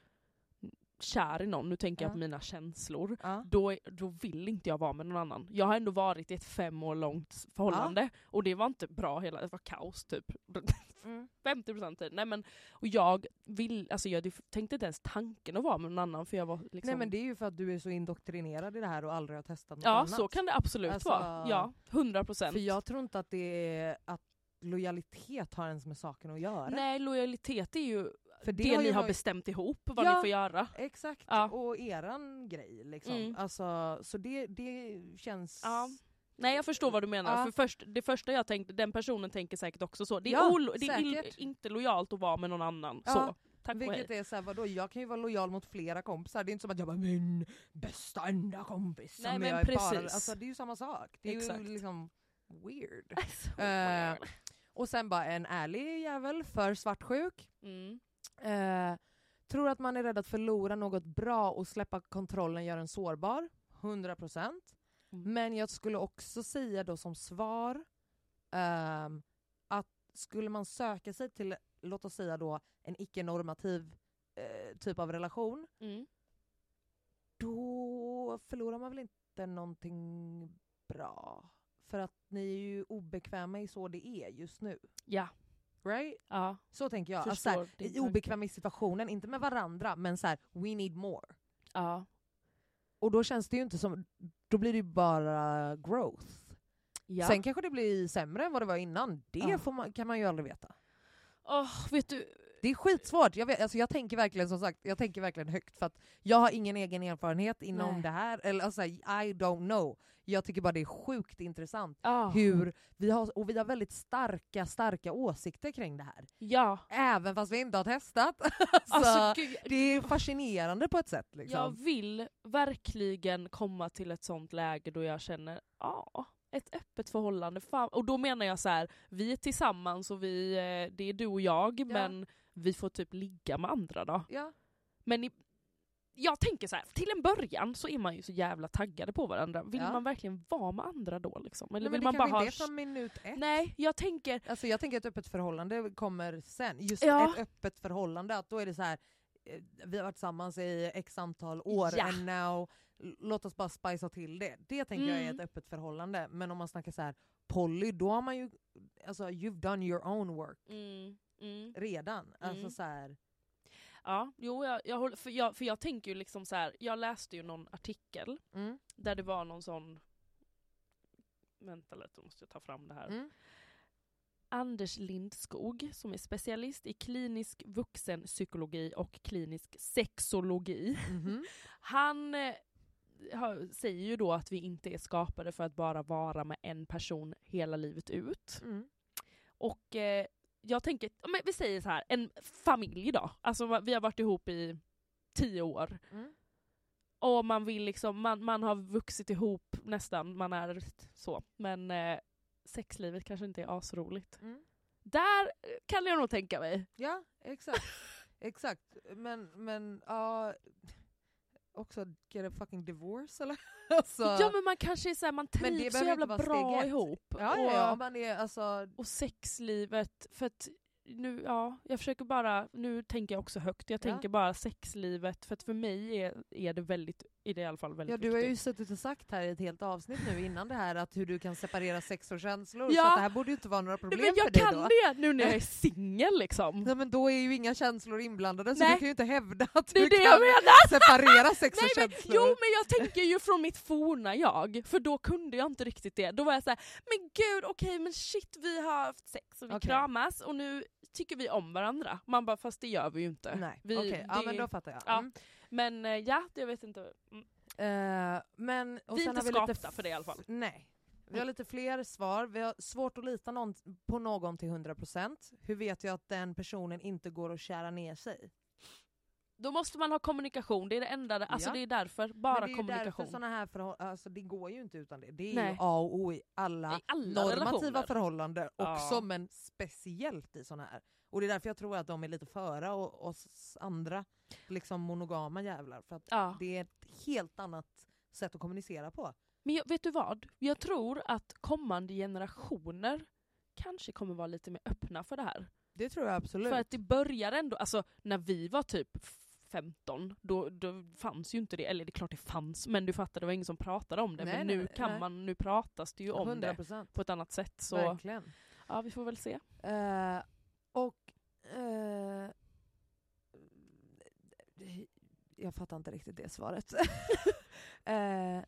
kär i någon, nu tänker jag
Ja.
på mina känslor,
Ja.
då, är- då vill inte jag vara med någon annan. Jag har ändå varit i ett fem år långt förhållande och det var inte bra, hela, det var kaos typ. 50% tid. Nej, men, och jag vill, alltså jag tänkte inte ens tanken att vara med någon annan för jag var liksom...
Nej men det är ju för att du är så indoktrinerad i det här och aldrig har testat något
ja
annat.
så kan det absolut
Alltså-
vara. Ja, 100%.
För jag tror inte att det är att lojalitet har ens med saken att göra.
Nej lojalitet är ju
För
det,
ju
ni har
varit-
bestämt ihop, vad
Ja.
ni får göra.
Exakt,
Ja.
och eran grej liksom.
Mm.
Alltså, så det, det känns...
Ja. Nej jag förstår vad du menar,
Ja.
för först, det första jag tänkte, den personen tänker säkert också så. Det är,
Ja,
olo- det är ill-
säkert.
inte lojalt att vara med någon annan.
Ja,
Så. Tack och hej.
Vilket är såhär, vadå jag kan ju vara lojal mot flera kompisar, det är inte som att jag bara min bästa enda kompis som
Nej, men
jag är bara...
precis.
Alltså det är ju samma sak. Det är
Exakt.
ju liksom weird.
Så
Eh,
weird.
och sen bara en ärlig jävel för svartsjuk.
Mm.
Eh, tror att man är rädd att förlora något bra och släppa kontrollen gör en sårbar. 100%.
Mm.
Men jag skulle också säga då som svar ehm, att skulle man söka sig till, låt oss säga då, en icke-normativ eh, typ av relation,
Mm.
då förlorar man väl inte någonting bra? För att ni är ju obekväma i så det är just nu.
Ja,
Right?
ja.
Så tänker jag. Alltså,
Förstår
såhär,
din
i
tanke.
obekväma i situationen, inte med varandra, men så här: we need more.
ja.
Och då känns det ju inte som, då blir det ju bara growth.
ja.
Sen kanske det blir sämre än vad det var innan, det
Ja.
får man, kan man ju aldrig veta.
Åh, vet du,
Det är skitsvårt, jag, vet, alltså jag tänker verkligen som sagt, jag tänker verkligen högt för att jag har ingen egen erfarenhet inom
Nej.
det här, eller alltså, I don't know. Jag tycker bara det är sjukt intressant
ja.
hur vi har, och vi har väldigt starka, starka åsikter kring det här.
ja.
Även fast vi inte har testat.
Alltså,
Alltså,
gud,
Det är fascinerande på ett sätt.
Jag
Liksom.
vill verkligen komma till ett sånt läge då jag känner, ja, ett öppet förhållande. Fan. Och då menar jag så här, vi är tillsammans och vi, eh, det är du och jag, men vi får typ ligga med andra då.
Ja.
Men i, jag tänker så här, till en början så är man ju så jävla taggade på varandra. Vill
Ja.
man verkligen vara med andra då liksom? Eller
Nej, men
vill
det
man bara
kanske
ha...
inte är från minut ett.
Nej, jag tänker,
Alltså, jag tänker att ett öppet förhållande kommer sen. Just
Ja.
ett öppet förhållande, att då är det så här. eh, Vi har varit tillsammans i x antal år,
Ja.
and now, l- låt oss bara spicea till det. Det tänker jag är
Mm.
ett öppet förhållande. Men om man snackar så här poly, då har man ju, alltså you've done your own work
mm, mm.
redan. Alltså
Mm.
så här,
Ja, jo, jag, jag håller, för, jag, för jag tänker ju liksom så här, jag läste ju någon artikel
mm,
där det var någon sån... Vänta lite, då måste jag ta fram det här.
mm.
Anders Lindskog, som är specialist i klinisk vuxenpsykologi och klinisk sexologi.
mhm.
Han eh, har, säger ju då att vi inte är skapade för att bara vara med en person hela livet ut.
Mm.
Och eh, jag tänker, ja, men vi säger så här, en familj då. Alltså va- vi har varit ihop i tio år.
Mm.
Och man vill liksom, man, man har vuxit ihop nästan, man är så. Men eh, sexlivet kanske inte är asroligt.
Mm.
Där eh, kan jag nog tänka mig.
Ja, exakt. exakt. Men, men ja... också get a fucking divorce eller? alltså,
Ja men man kanske är såhär, man
det
trivs så
behöver
jävla
inte vara
bra
steg ett.
ihop.
ja, ja, ja,
Och,
man är alltså...
och sexlivet, för att nu, ja, jag försöker bara, nu tänker jag också högt, jag
Ja.
tänker bara sexlivet, för att för mig är, är det väldigt, är det i alla fall väldigt
Ja, du har ju
viktigt.
suttit och sagt här i ett helt avsnitt nu innan det här att hur du kan separera sex och känslor,
Ja.
så att det här borde ju inte vara några problem
Nej, men jag
för dig
kan
då.
det nu när jag är singel liksom.
Nej men då är ju inga känslor inblandade så
Nej.
du kan ju inte hävda att
Det
du
är det
kan
jag menar!
separera sex
Nej,
och
men,
känslor.
jo men jag tänker ju från mitt forna jag, för då kunde jag inte riktigt det. Då var jag så här, men gud okej men shit vi har haft sex och vi
Okej.
kramas och nu tycker vi om varandra. Man bara fast det gör vi ju inte.
Nej,
vi,
okej. Ja
det-
men då fattar jag.
Ja.
Mm.
men, eh, ja, jag vet inte. Mm.
Eh, men, och
Vi är
sen
inte
har vi lite
skapta för det i alla fall.
Nej. Vi har lite fler svar. Vi har svårt att lita någon, på någon till 100%. Hur vet jag att den personen inte går att kära ner sig?
Då måste man ha kommunikation, det är det enda, alltså
Ja.
det är därför,
Men
bara
det är ju därför
kommunikation.
såna här förhållanden, alltså det går ju inte utan det. Det är
Nej.
ju A och O i alla,
I alla
normativa
relationer.
förhållanden
Ja.
också, men speciellt i såna här. Och det är därför jag tror att de är lite före och- oss andra liksom monogama jävlar. För att
Ja.
det är ett helt annat sätt att kommunicera på.
Men jag, vet du vad? Jag tror att kommande generationer kanske kommer vara lite mer öppna för det här.
Det tror jag absolut.
För att det börjar ändå, alltså när vi var typ 15, då, då fanns ju inte det. Eller det är klart det fanns, men du fattar, det var ingen som pratade om det.
Nej,
men
nej,
nu
nej,
kan
nej.
man, nu pratas det ju om det
100%.
på ett annat sätt. Så
Verkligen.
ja, vi får väl se.
Eh, och... eh, jag fattar inte riktigt det svaret. Eh,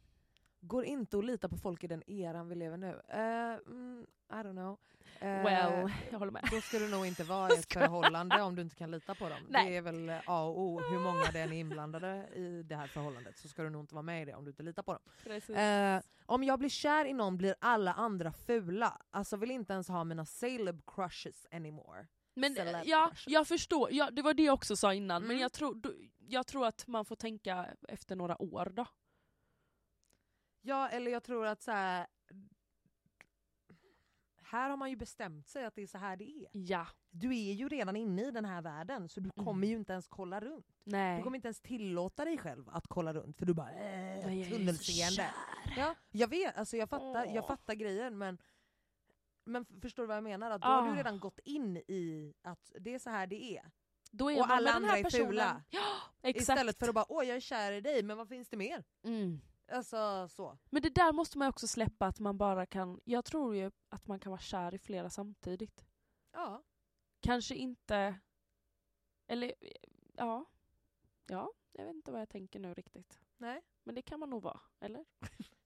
går inte att lita på folk i den eran vi lever nu. Eh, mm, I don't know. Eh,
well, jag håller med.
Då ska du nog inte vara i ett
Ska jag-
förhållande om du inte kan lita på dem.
Nej.
Det är väl A och O, hur många det än är inblandade i det här förhållandet så ska du nog inte vara med i det om du inte litar på dem.
Precis.
Eh, om jag blir kär i någon blir alla andra fula. Alltså vill inte ens ha mina celeb crushes anymore.
Men
celeb
ja,
crushes.
jag förstår. Ja, det var det jag också sa innan. Men
Mm.
jag tror, då- jag tror att man får tänka efter några år då.
Ja, eller jag tror att så här. Här har man ju bestämt sig att det är så här det är.
Ja.
Du är ju redan inne i den här världen så du
Mm.
kommer ju inte ens kolla runt. Du
Nej.
kommer inte ens tillåta dig själv att kolla runt för du bara äh,
Men jag är så
tunnelseende. Ja, jag vet, alltså jag fattar, jag
Åh.
fattar grejen men, men f- förstår du vad jag menar? Att då har du
Ah.
redan gått in i att det är så här det är.
Då är
och
man
alla
med den här
andra är
personen.
fula.
Ja, exakt.
Istället för att bara åh jag är kär i dig men vad finns det mer?
mm.
Alltså så.
Men det där måste man ju också släppa att man bara kan, jag tror ju att man kan vara kär i flera samtidigt.
Ja.
Kanske inte, eller ja. Ja, jag vet inte vad jag tänker nu riktigt.
Nej.
Men det kan man nog vara, eller?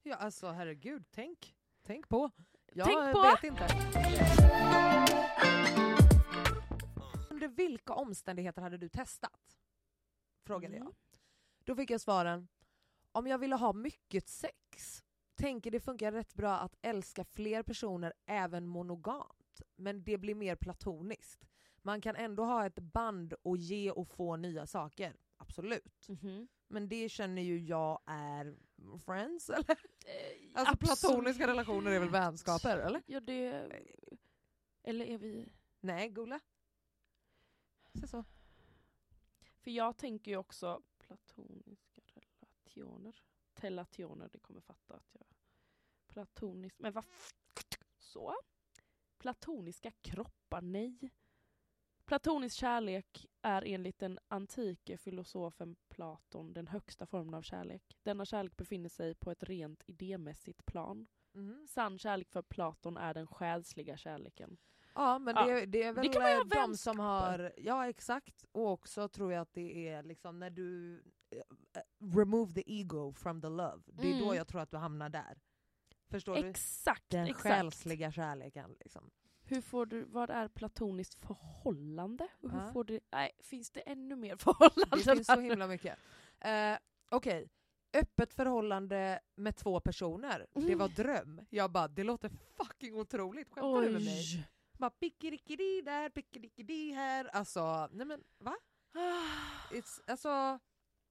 ja, alltså herregud tänk. Tänk på. Jag
Tänk på!
vet inte. Under vilka omständigheter hade du testat? Frågade jag.
Mm.
Då fick jag svaren. Om jag ville ha mycket sex, tänker det funkar rätt bra att älska fler personer även monogamt. Men det blir mer platoniskt. Man kan ändå ha ett band och ge och få nya saker. Absolut.
Mhm.
Men det känner ju jag är friends eller?
Eh,
Alltså platoniska
absolut.
relationer är väl vänskaper eller?
Ja, det... Eller är vi...
Nej, Gula. Så så.
För jag tänker ju också platoniska relationer. Telationer, det kommer fatta att jag... Platonisk... Men vad... f- Så. Platoniska kroppar, nej. Platonisk kärlek är enligt den antike filosofen Platon den högsta formen av kärlek. Denna kärlek befinner sig på ett rent idémässigt plan.
Mhm.
Sann kärlek för Platon är den själsliga kärleken.
Ja men
Ja.
Det, det är väl
kan man
eh,
göra
de som
vänskaper.
har, ja exakt, och också tror jag att det är liksom när du eh, eh, remove the ego from the love, det är då
Mm.
jag tror att du hamnar där. Förstår du?
Exakt!
Den
exakt.
själsliga kärleken. Liksom.
Hur får du, vad är platoniskt förhållande? Och hur
Ja.
får du, nej, finns det ännu mer förhållanden?
Det finns så
här nu?
himla mycket. Eh, Okej, öppet förhållande med två personer,
Mm.
det var dröm. Jag bara, det låter fucking otroligt, skämtar du med mig?
Oj.
Bara pickerickeri där, pickerickeri här. Alltså, nej men va? It's, alltså,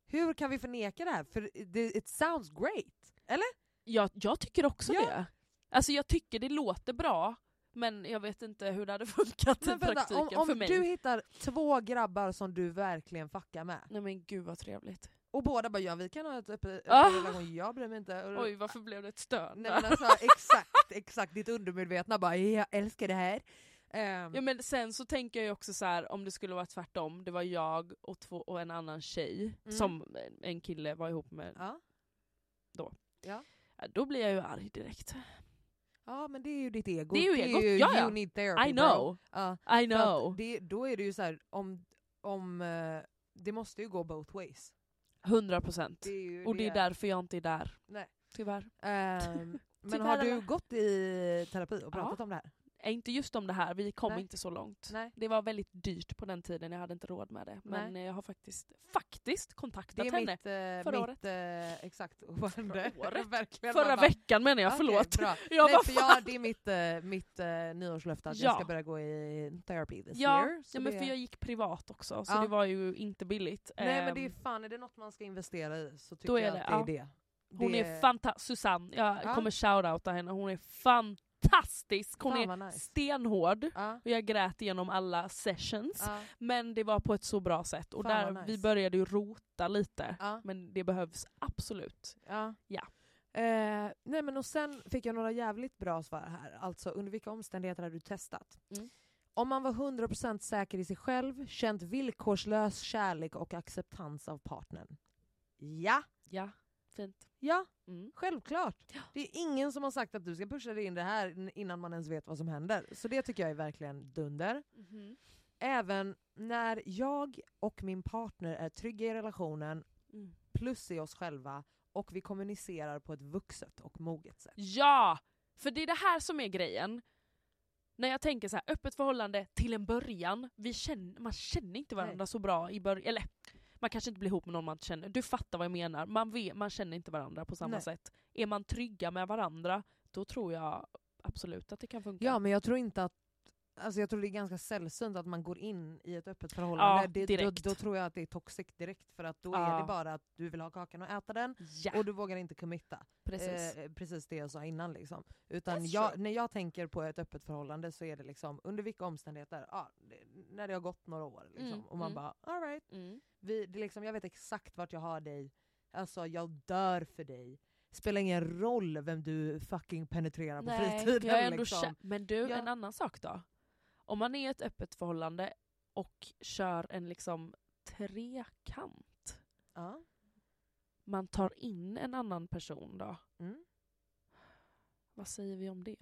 hur kan vi förneka det här? För det, it sounds great. Eller?
Jag, jag tycker också
Ja.
det. Alltså jag tycker det låter bra, men jag vet inte hur det hade funkat i
Men vänta, om,
praktiken
om
för mig.
du hittar två grabbar som du verkligen fuckar med
Nej men gud vad trevligt.
och båda bara ja vi kan ha ett öppet
Ah.
öppet relation, jag bryr mig inte. Och-
Oj varför blev det ett stön
Mm. Nej,
där?
men alltså, exakt, exakt, ditt undermedvetna bara jag älskar det här. Ehm,
Ja men sen så tänker jag ju också så här om det skulle vara tvärtom, det var jag och, två, och en annan tjej
Mm.
som en kille var ihop med,
ja.
Ja, då blir jag ju arg direkt.
ja men det är ju ditt ego.
Det är ju egot, ja, ja.
you need therapy
I
bro.
know,
Ja,
I
för att
know.
Det, då är det ju så här, om, om, eh, det måste ju gå both ways.
100 procent.
Det är ju
Och det är därför jag inte är där.
Nej.
Tyvärr.
Ehm, men
Tyvärr
har
Typ alla-
du gått i terapi och pratat om det här?
Eh, Inte just om det här, vi kom
Nej.
inte så långt.
Nej.
Det var väldigt dyrt på den tiden, jag hade inte råd med det. Men
Nej.
eh, jag har faktiskt, faktiskt
Det
kontaktat
är
henne.
mitt, eh,
förra
mitt
året.
eh, exakt årande.
Förra året?
Verkligen,
Förra
man bara,
veckan menar jag,
okej,
förlåt.
bra.
Jag
Nej,
bara,
för
fan.
jag, det är mitt, eh, mitt eh, nyårslöfte att jag
Ja.
ska börja gå i therapy this
Ja,
year. så
ja, men
det-
för jag gick privat också, så
Ja.
det var ju inte billigt.
Nej men det är
Ehm,
fan, är det något man ska investera i så tycker
Då är
jag
det,
att det är det.
hon
det,
är fantastisk, Susanne, jag
Ja.
kommer shoutouta henne, hon är fantastisk! Hon
Fan,
är
vad nice.
stenhård.
Ja,
Och jag grät igenom alla sessions.
ja,
Men det var på ett så bra sätt. Och
Fan,
där,
vad nice.
vi började ju rota lite.
ja,
Men det behövs absolut.
ja.
Ja.
Eh, nej men och sen fick jag några jävligt bra svar här. Alltså under vilka omständigheter har du testat?
Mm.
Om man var 100% säker i sig själv, känt villkorslös kärlek och acceptans av partnern. Ja,
Ja, fint.
ja,
Mm.
självklart. Det är ingen som har sagt att du ska pusha dig in det här n- innan man ens vet vad som händer. Så det tycker jag är verkligen dunder.
Mhm.
Även när jag och min partner är trygga i relationen,
Mm.
plus i oss själva, och vi kommunicerar på ett vuxet och moget sätt.
Ja! För det är det här som är grejen. När jag tänker så här, öppet förhållande till en början, vi känner, man känner inte varandra så bra i början. Eller man kanske inte blir ihop med någon man inte känner. Du fattar vad jag menar. Man, vet, man känner inte varandra på samma
Nej.
sätt. Är man trygga med varandra, då tror jag absolut att det kan funka.
Ja men jag tror inte att Alltså jag tror det är ganska sällsynt att man går in i ett öppet förhållande.
Ja,
det,
direkt.
Då, då tror jag att det är toxic direkt för att då
Ja.
är det bara att du vill ha kakan och äta den
ja
och du vågar inte committa.
precis.
Eh, precis det jag sa innan liksom. Utan
That's
jag,
true.
när jag tänker på ett öppet förhållande så är det liksom under vilka omständigheter, ja, det- när det har gått några år liksom.
Mm,
Och man
mm.
bara alright.
Mm.
Vi, det är liksom, jag vet exakt vart jag har dig, alltså jag dör för dig. Spelar ingen roll vem du fucking penetrerar på fritiden.
jag är ändå
liksom.
kä- Men du,
Ja.
en annan sak då. Om man är i ett öppet förhållande och kör en liksom trekant,
ja.
man tar in en annan person då.
mm.
Vad säger vi om det?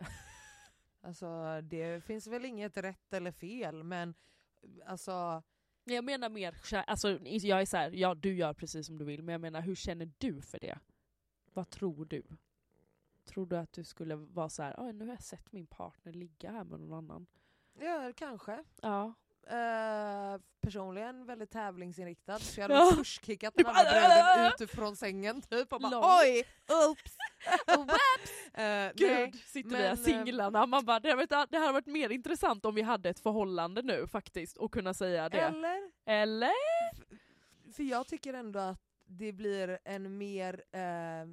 Alltså det finns väl inget rätt eller fel men alltså,
Nej, Jag menar mer, kä- alltså, jag är så här, ja du gör precis som du vill, men jag menar hur känner du för det? Vad tror du? Tror du att du skulle vara så här, "Oj, nu har jag sett min partner ligga här med någon annan?
ja kanske.
Ja.
Eh, personligen väldigt tävlingsinriktad så jag hade
Ja.
ja. pushkickat den andra bredden ut ifrån sängen typ och bara
Lång.
oj, oops. Eh,
Gud,
nej.
sitter vi
men,
här
eh,
singlarna. Man bara, det hade, varit, det hade varit mer intressant om vi hade ett förhållande nu faktiskt och kunna säga det.
Eller?
Eller?
För jag tycker ändå att det blir en mer eh,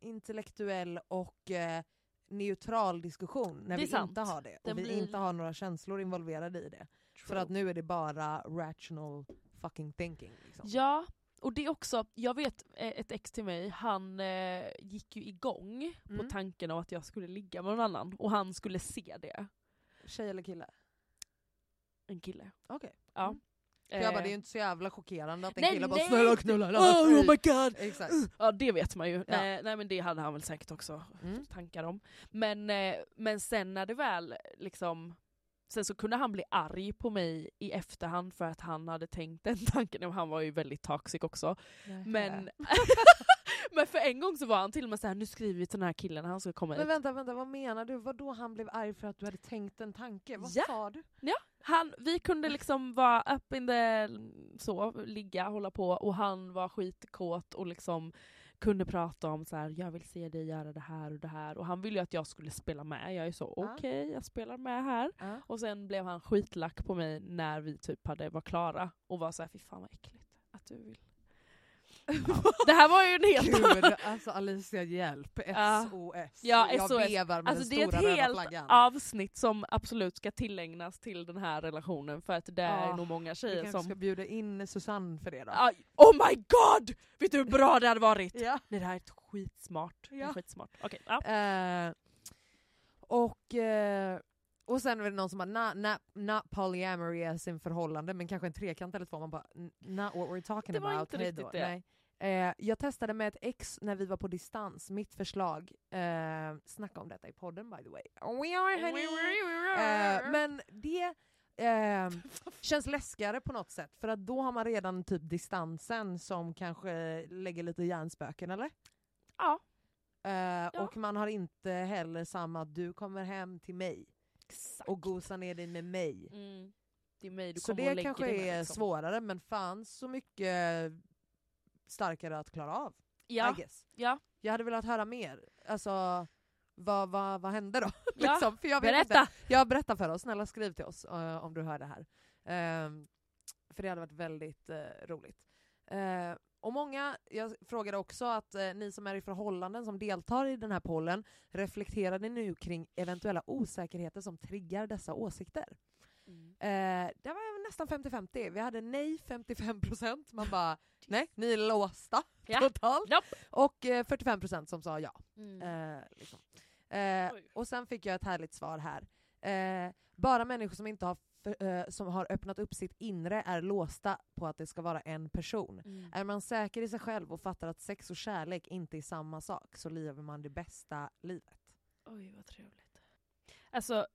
intellektuell och eh, neutral diskussion när
Det är
vi
sant.
inte har det och
Den
vi
blir-
inte har några känslor involverade i det. För att nu är det bara rational fucking thinking. Liksom.
Ja, och det är också, jag vet eh, ett ex till mig, han eh, gick ju igång
Mm.
på tanken av att jag skulle ligga med någon annan och han skulle se det.
Tjej eller kille?
En kille.
Okej.
Ja.
Mm. För jag bara, det är ju
Eh,
inte så jävla chockerande att en
Nej,
kille bara
nej.
“snälla knulla hela
Oh,
mig."
oh my god!
Exakt.
Ja det vet man ju. Nej, nej men det hade han väl säkert också
Mm.
tankar om. Men, eh, men sen när det väl liksom Sen så kunde han bli arg på mig i efterhand för att han hade tänkt den tanken. Och han var ju väldigt toxic också. Men, men för en gång så var han till och med så här: nu skriver vi till den här killen han ska komma
Men
hit.
vänta, vänta, vad menar du? Vad då han blev arg för att du hade tänkt en tanke? Vad
Ja.
sa du?
Han, vi kunde liksom vara up in the... Så, ligga, hålla på och han var skitkåt och liksom kunde prata om så här, jag vill se dig göra det här och det här. Och han ville ju att jag skulle spela med. Jag är så
Ja.
okej, jag spelar med här.
Ja.
Och sen blev han skitlack på mig när vi typ hade, var klara och var så här, fy fan vad äckligt att du vill. det här var ju en helt
Gud, alltså Alicia hjälp. SOS.
Ja,
Jag
SOS.
vevar med
Alltså
den
det är
stora
ett
röda
helt
flaggan.
avsnitt som absolut ska tillägnas till den här relationen för att det är
Ah,
nog många
Vi
tjejer
kanske
som...
ska bjuda in Susanne för det då.
Aj, oh my god! Vet du hur bra det hade varit?
Ja.
Nej det här är ett skitsmart. Det är
Ja.
skitsmart. Okej, ja.
Eh, och, eh, och sen är det någon som bara not, not, not polyamory är sin förhållande men kanske en trekant eller två. Man bara "N- not what we're talking
Det var
about.
inte
hej
riktigt
då."
det.
Nej. Eh, jag testade med ett ex när vi var på distans, mitt förslag. Eh, snacka om detta i podden by the way. We are honey! Eh, men det eh, känns läskigare på något sätt för att då har man redan typ distansen som kanske lägger lite hjärnspöken eller?
ja,
Eh,
Ja.
Och man har inte heller samma att du kommer hem till mig
exakt.
och gosar ner dig med mig.
Mm. Det är mig du
så
kommer och
det
lägger
kanske
dig med,
är
liksom.
svårare men fan så mycket starkare att klara av.
Ja,
I guess.
ja.
Jag hade velat höra mer. Alltså, vad, vad, vad hände då?
Ja,
liksom, för jag vet
Berätta!
Inte. Jag berättar för oss, snälla skriv till oss eh, om du hör det här. Ehm, för det hade varit väldigt eh, roligt. Eh, och många, jag frågade också att eh, ni som är i förhållanden som deltar i den här pollen, reflekterade ni nu kring eventuella osäkerheter som triggar dessa åsikter? Eh, det var nästan 50-50. Vi hade nej 55%, man bara nej, ni är låsta
Ja.
totalt.
Nope.
Och eh, 45% som sa ja.
Mm.
Eh, liksom. eh,
Oj.
och sen fick jag ett härligt svar här. Eh, bara människor som inte har, för, eh, som har öppnat upp sitt inre är låsta på att det ska vara en person.
Mm.
Är man säker i sig själv och fattar att sex och kärlek inte är samma sak så lever man det bästa livet.
Oj vad trevligt. Alltså,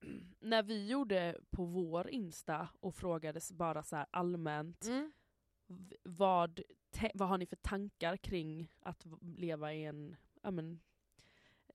när vi gjorde på vår Insta och frågades bara så här allmänt v- vad, te- vad har ni för tankar kring att v- leva i en, ja men,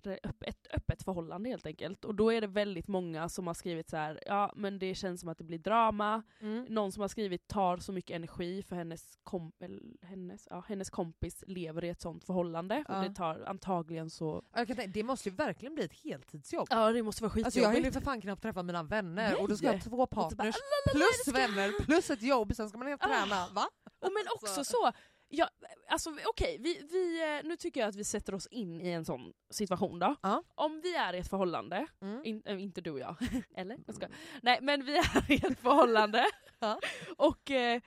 re- öpp- ett öppet förhållande helt enkelt. Och då är det väldigt många som har skrivit så här, ja men det känns som att det blir drama, någon som har skrivit tar så mycket energi för hennes, kom- eller hennes, ja, hennes kompis lever i ett sånt förhållande
Ja.
och det tar antagligen så...
Ja, Jag kan tänka, det måste ju verkligen bli ett heltidsjobb.
Ja det måste vara
Alltså jag
skitjobbigt.
hinner ju för fan knappt träffa mina vänner och då ska jag ha
Nej.
två
Och så bara, "Ah,
partners
"Lalalala,
plus
det ska-
vänner plus ett jobb, sen ska man helt
Ah.
träna. Va?
Och men
Alltså.
också så, ja, alltså okej, vi, vi, eh, nu tycker jag att vi sätter oss in i en sån situation då.
Ja.
Om vi är i ett förhållande,
Mm.
in, eh, inte du och jag, eller? Jag ska. Nej men vi är i ett förhållande
Ja.
och eh,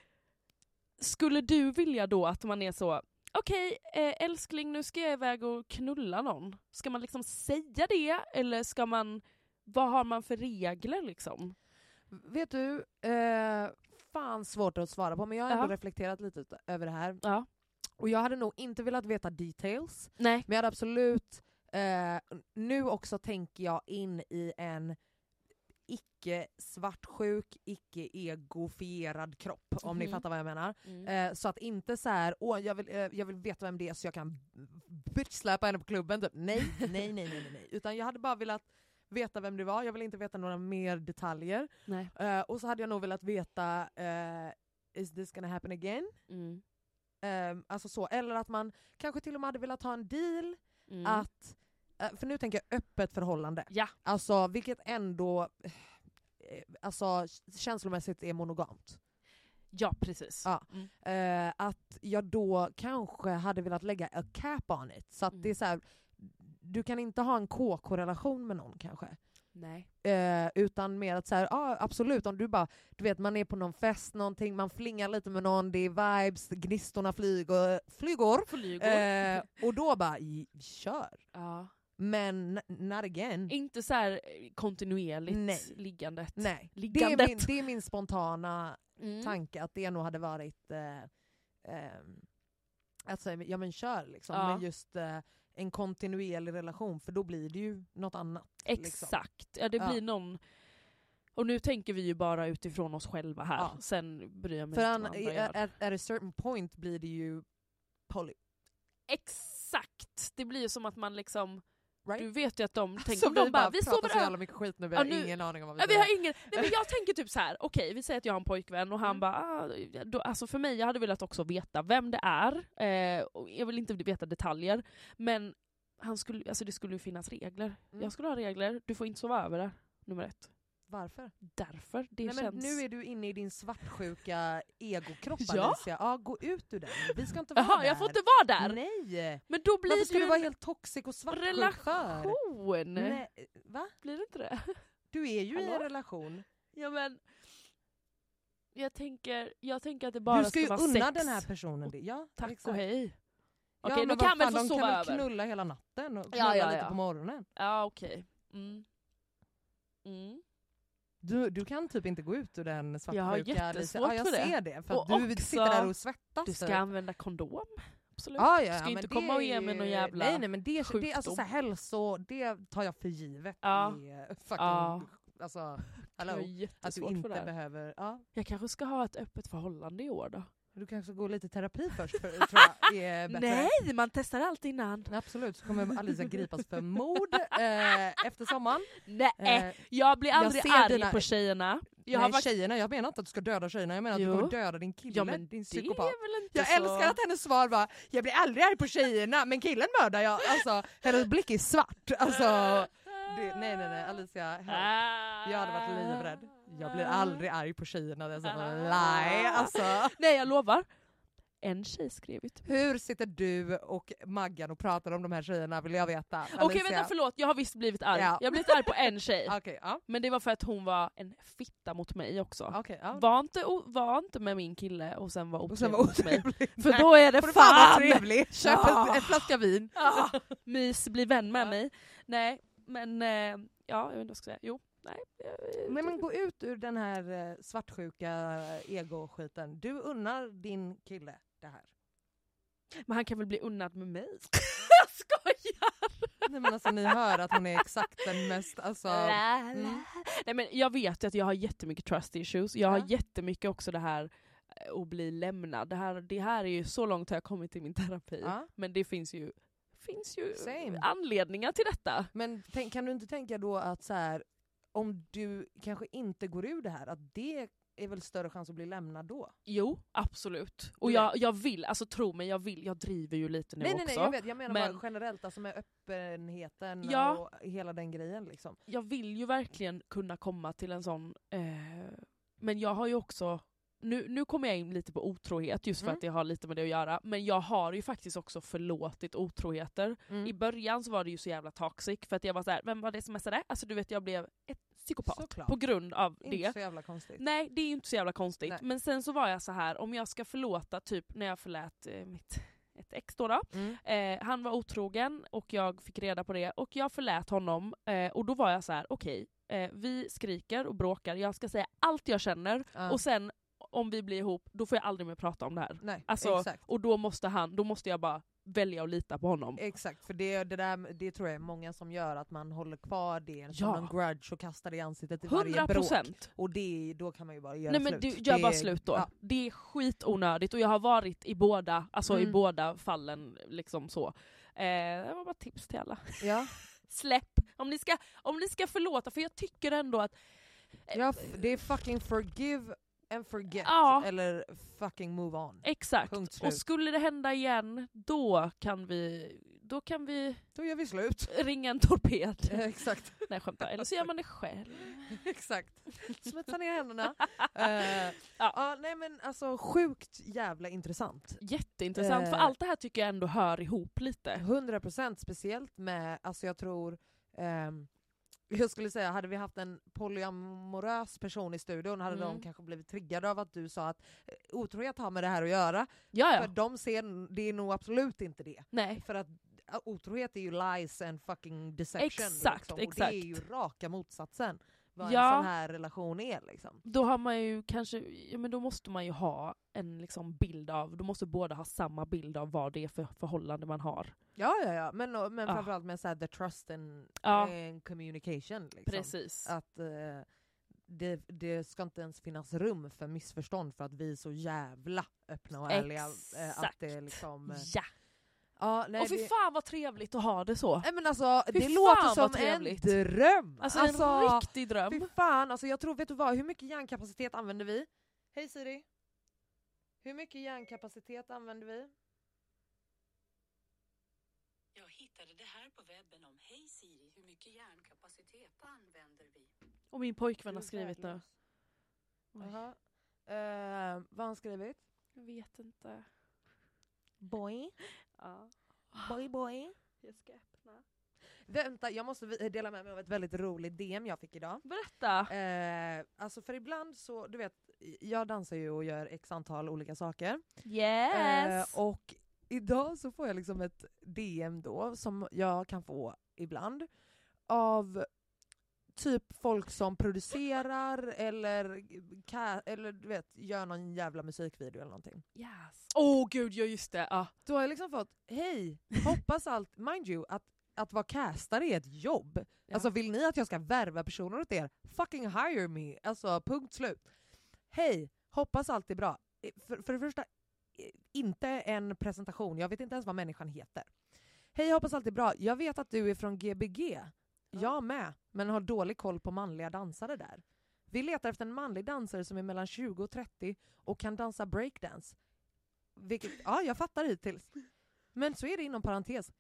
skulle du vilja då att man är så Okej eh, älskling nu ska jag iväg och knulla någon. Ska man liksom säga det eller ska man, vad har man för regler liksom?
Vet du, eh, fan svårt att svara på men jag har ändå
Ja.
reflekterat lite ut- över det här.
Ja.
Och jag hade nog inte velat veta details,
Nej.
men jag hade absolut, eh, nu också tänker jag in i en icke svartsjuk, icke egofierad kropp om ni
Mhm.
fattar vad jag menar.
Mm.
Eh, så att inte så här, åh jag vill, eh, jag vill veta vem det är så jag kan bitchsläpa henne på klubben. Typ. Nej, nej, nej, nej, nej, nej. Utan jag hade bara velat veta vem det var, jag vill inte veta några mer detaljer.
Nej.
Eh, och så hade jag nog velat veta, eh, is this gonna happen again?
Mm.
Eh, alltså så. Eller att man kanske till och med hade velat ha en deal
Mm.
att, eh, för nu tänker jag öppet förhållande.
Ja.
Alltså vilket ändå eh, Alltså känslomässigt är monogamt.
Ja precis.
Ja.
Mm.
Eh, att jag då kanske hade velat lägga a cap on it. Så att
Mm.
det är så här, du kan inte ha en KK-relation med någon kanske.
Nej.
Eh, utan mer att så här, ja absolut om du bara, du vet man är på någon fest, någonting, man flingar lite med någon, det är vibes, gnistorna flyger. flygor.
Flygor.
Eh, och då bara, i- kör.
ja.
Men n- not again.
Inte så här eh, kontinuerligt
Nej.
liggandet.
Nej. Det är,
Liggandet.
min, det är min spontana
Mm.
tanke att det nog hade varit eh, ehm, att säga ja men kör liksom,
Ja.
men just eh, en kontinuerlig relation för då blir det ju något annat. liksom.
Exakt. Ja, det
Ja.
blir någon... Och nu tänker vi ju bara utifrån oss själva här.
Ja.
Sen bryr jag mig
För
inte
an,
vad andra
i-
gör.
at, at a certain point blir det ju poly.
Exakt! Det blir ju som att man liksom...
Right?
Du vet ju att de tänker...
Som
Som de bara, vi sover
pratar så
över.
jävla mycket skit nu, vi
Ja,
har
nu-
ingen aning om vad vi
Ja, vi
säger.
har ingen... Nej, men jag tänker typ så här. okej vi säger att jag har en pojkvän och han
Mm.
bara, ah, då, alltså för mig, jag hade velat också veta vem det är, eh, och jag vill inte veta detaljer, men han skulle, alltså det skulle ju finnas regler.
Mm.
Jag skulle ha regler, du får inte sova över där, nummer ett.
Varför?
Därför, det
Nej, men
känns...
nu är du inne i din svartsjuka egokropp
Ja.
Alicia. Ja, gå ut ur den. Vi ska inte vara
Jaha,
där.
jag får inte vara där!
Nej!
Men då
Varför
blir
ska
det
du
ju
vara
en
helt toxisk och svartsjuk för?
relation!
Nej, va?
Blir det inte det?
Du är ju i en
Hallå?
relation.
Ja men... Jag tänker, jag tänker att det bara
du ska ju
vara
unna
sex.
den här personen det. Ja,
Tack
exakt.
och hej.
Ja,
Okej,
men
då
vad
kan väl
fan,
få
de
sova
kan väl
över.
knulla hela natten och knulla
Ja, ja,
lite
ja.
på morgonen.
Ja okej. Mm. Mm.
Du, du kan typ inte gå ut ur den svartsjuka
Jag har
Alicia.
jättesvårt
ja, jag
för det.
ser det. För att
Och
du
också-
sitter där och svettas.
Du ska
typ.
använda kondom. Absolut.
ja, ja,
du
ja,
ska
men
inte
det
komma och
är
ge mig
ju-
någon jävla...
Nej, nej men det, det är alltså
sjukdom.
så här, hälso, det tar jag för givet.
Ja.
är fucking,
Ja.
alltså,
jag har
hello. Att du
jättesvårt
inte
för det här.
behöver, ja.
Jag kanske ska ha ett öppet förhållande i år då.
Du kanske går lite i terapi först för, tror jag är bättre.
Nej, man testar allt innan.
Absolut, så kommer Alicia gripas för mord eh, efter sommaren.
Nej,
Eh,
jag blir
jag
aldrig
ser
arg
dina-
på tjejerna. Jag
Jag
har
Nej,
varit...
tjejerna, jag menar inte att du ska döda tjejerna, jag menar att
Jo.
du kommer döda din kille,
Ja men
din
det
psykopat.
är alltså- väl inte
Jag
så...
älskar att hennes svar var “jag blir aldrig arg på tjejerna men killen mördar jag”. Alltså, hennes blick är svart. Alltså, det, nej nej nej Alicia, help.
Ah.
jag hade varit livrädd. Jag blir aldrig arg på tjejerna, det är sån
Ah.
lie. Alltså.
Nej jag lovar. En tjej skrev ju till mig.
Hur sitter du och Maggan och pratar om de här tjejerna vill jag veta. Alicia.
Okej vänta förlåt, jag har visst blivit arg.
Ja.
Jag har blivit arg på en tjej.
Okej, ja.
Men det var för att hon var en fitta mot mig också.
Okej, ja.
Var inte, o- var inte med min kille och sen var
Och sen
otrevlig
var
mot mig.
otrevlig.
För då är det
Får du fan
fan!
vara trevlig, köp en, en flaska vin.
Ah, mys, bli vän med
Ja.
mig. Nej, men eh, ja, jag vet inte vad jag ska säga. Jo. nej.
Men, men gå ut ur den här eh, svartsjuka ego-skiten. Du unnar din kille det här.
Men han kan väl bli unnad med mig? jag skojar!
Nej, men alltså, ni hör att hon är exakt den mest... Alltså,
La,
mm.
Nej men jag vet ju att jag har jättemycket trust issues, jag har
Ja.
jättemycket också det här eh, att bli lämnad. Det här, det här är ju så långt har jag kommit i min terapi.
ja.
Men det finns ju, finns ju
Same.
anledningar till detta.
Men tänk, kan du inte tänka då att så här, om du kanske inte går ur det här, att det är väl större chans att bli lämnad då?
Jo, absolut. Och
Du
jag, jag vill, alltså tro mig, jag vill, jag driver ju lite nu
nej,
också.
nej, nej, jag vet. Jag menar
Men-
bara generellt, alltså med öppenheten
Ja.
och hela den grejen. Liksom.
jag vill ju verkligen kunna komma till en sån... Eh, men jag har ju också... Nu, nu kommer jag in lite på otrohet, just för
Mm.
att det har lite med det att göra. Men jag har ju faktiskt också förlåtit otroheter.
Mm.
I början så var det ju så jävla toxic, för att jag var så här, vem var det som smsade? Alltså du vet, jag blev ett psykopat
Såklart.
på grund av
Inte
det.
så jävla konstigt.
Nej, det är ju inte så jävla konstigt.
Nej.
Men sen så var jag så här, om jag ska förlåta, typ när jag förlät eh, mitt ett ex då, då
Mm.
Eh, han var otrogen och jag fick reda på det och jag förlät honom eh, och då var jag så här: okej, eh, vi skriker och bråkar, jag ska säga allt jag känner
Ja.
och sen om vi blir ihop, då får jag aldrig mer prata om det här.
nej,
Alltså,
exakt.
och då måste, han, då måste jag bara välja att lita på honom.
Exakt, för det, det, där, det tror jag är många som gör, att man håller kvar det som
Ja.
en grudge och kastar det i ansiktet i varje
100
bråk.
procent!
Och det, då kan man ju bara göra
Nej
slut.
men du, gör
Det-
bara slut då.
ja.
Det är skitonödigt och jag har varit i båda, alltså i
Mm.
båda fallen liksom så. Eh, det var bara tips till alla.
Ja.
Släpp! Om ni, ska, om ni ska förlåta, för jag tycker ändå att... eh,
Ja, f- det är fucking forgive and forget.
Ja.
Eller fucking move on.
Exakt.
Punkt slut.
Och skulle det hända igen, då kan vi, då kan vi
Då gör vi slut.
ringa en torped.
Eh, Exakt.
Nej jag skämtar. Eller så gör man det själv.
Exakt. Smutsa ner händerna. Eh,
Ja.
ja, nej men alltså sjukt jävla intressant.
Jätteintressant, för
Eh.
allt det här tycker jag ändå hör ihop lite.
100% speciellt med, alltså jag tror, ehm, jag skulle säga hade vi haft en polyamorös person i studion hade
Mm.
de kanske blivit triggade av att du sa att eh, otrohet har med det här att göra.
Ja, ja.
För de ser, det är nog absolut inte det.
Nej.
För att ä, otrohet är ju lies and fucking deception.
Exakt,
liksom. Och det är ju
exakt.
raka motsatsen vad
Ja.
en sån här relation är. Liksom.
Då har man ju kanske, ja, men då måste man ju ha en liksom bild av, då måste båda ha samma bild av vad det är för förhållande man har.
Ja, ja, ja. Men, och- men
Ja.
framförallt med så här, the trust and,
Ja.
and communication. Liksom.
Precis.
Att eh, det, det ska inte ens finnas rum för missförstånd för att vi är så jävla öppna och ärliga. eh, Att det
Exakt.
liksom, eh,
Ja.
ja, nej,
Och fy
det,
fan vad trevligt att ha det så.
nej, men alltså,
Fy
det
fan
låter
vad
som
trevligt.
en dröm!
Alltså, en riktig dröm.
Fy fan, alltså jag tror, vet du vad, hur mycket hjärnkapacitet använder vi? Hej Siri. Hur mycket hjärnkapacitet använder vi?
Jag hittade det här på webben om Hej Siri, hur mycket hjärnkapacitet använder vi?
Och min pojkvän har
Du är
skrivit det.
värdelös. Jaha. Eh, vad har han skrivit?
Jag vet inte.
Boy,
Ja.
boy, boy.
Jag ska öppna.
Vänta, jag måste vi- dela med mig av ett väldigt roligt DM jag fick idag.
Berätta!
Eh, alltså för ibland så, du vet, jag dansar ju och gör x antal olika saker.
Yes!
Eh, och idag så får jag liksom ett DM då som jag kan få ibland av typ folk som producerar eller, ka- eller du vet, gör någon jävla musikvideo eller någonting.
yes. Åh gud, ja just det. Ja.
Då har jag liksom fått, hej, hoppas allt, mind you, att att vara castare är ett jobb.
Ja.
Alltså vill ni att jag ska värva personer åt er, fucking hire me. Alltså punkt slut. Hej, hoppas allt är bra. Eh, För, för det första, eh, inte en presentation, jag vet inte ens vad människan heter. Hej, hoppas allt är bra. Jag vet att du är från Gbg. Jag med, men har dålig koll på manliga dansare där. Vi letar efter en manlig dansare som är mellan 20 och 30 och kan dansa breakdance. Vilket, ja, jag fattar hittills. Men så är det inom parentes,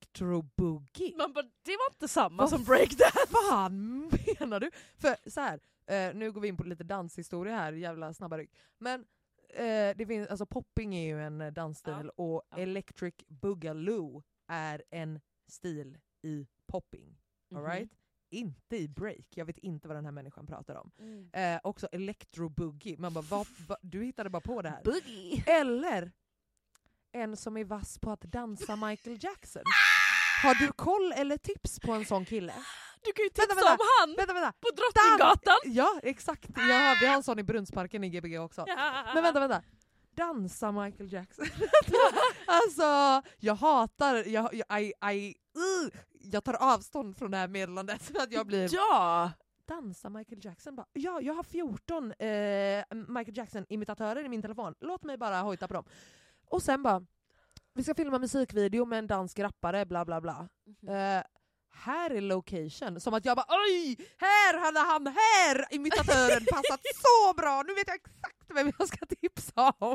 electroboogie.
Man bara, det var inte samma
Vad
som breakdance!
fan menar du? För så här, eh, nu går vi in på lite danshistoria här, jävla snabba ryck. Men eh, det finns, alltså popping är ju en eh, dansstil och
ja.
electric boogaloo är en stil i popping.
Mhm.
All right? Inte i break, jag vet inte vad den här människan pratar om. Eh, också electroboogie, man bara vad, vad, du hittade bara på det här.
Boogie!
Eller en som är vass på att dansa Michael Jackson. Har du koll eller tips på en sån kille?
Du kan ju tipsa
Vänta, vänta.
om han
Vänta vänta!
på Drottninggatan!
Ja exakt, jag har, vi har en sån i Brunnsparken i Gbg också. Men vänta, vänta. Dansa Michael Jackson. alltså jag hatar, jag, jag, I, I, uh, jag tar avstånd från det här meddelandet. För att jag blir...
Ja!
Dansa Michael Jackson. Bara, ja, jag har 14 eh, Michael Jackson-imitatörer i min telefon. Låt mig bara hojta på dem. Och sen bara, vi ska filma musikvideo med en dansk rappare, bla bla bla. Eh, här är location. Som att jag bara oj, här hade han, här imitatören passat så bra, nu vet jag exakt vem jag ska tipsa om.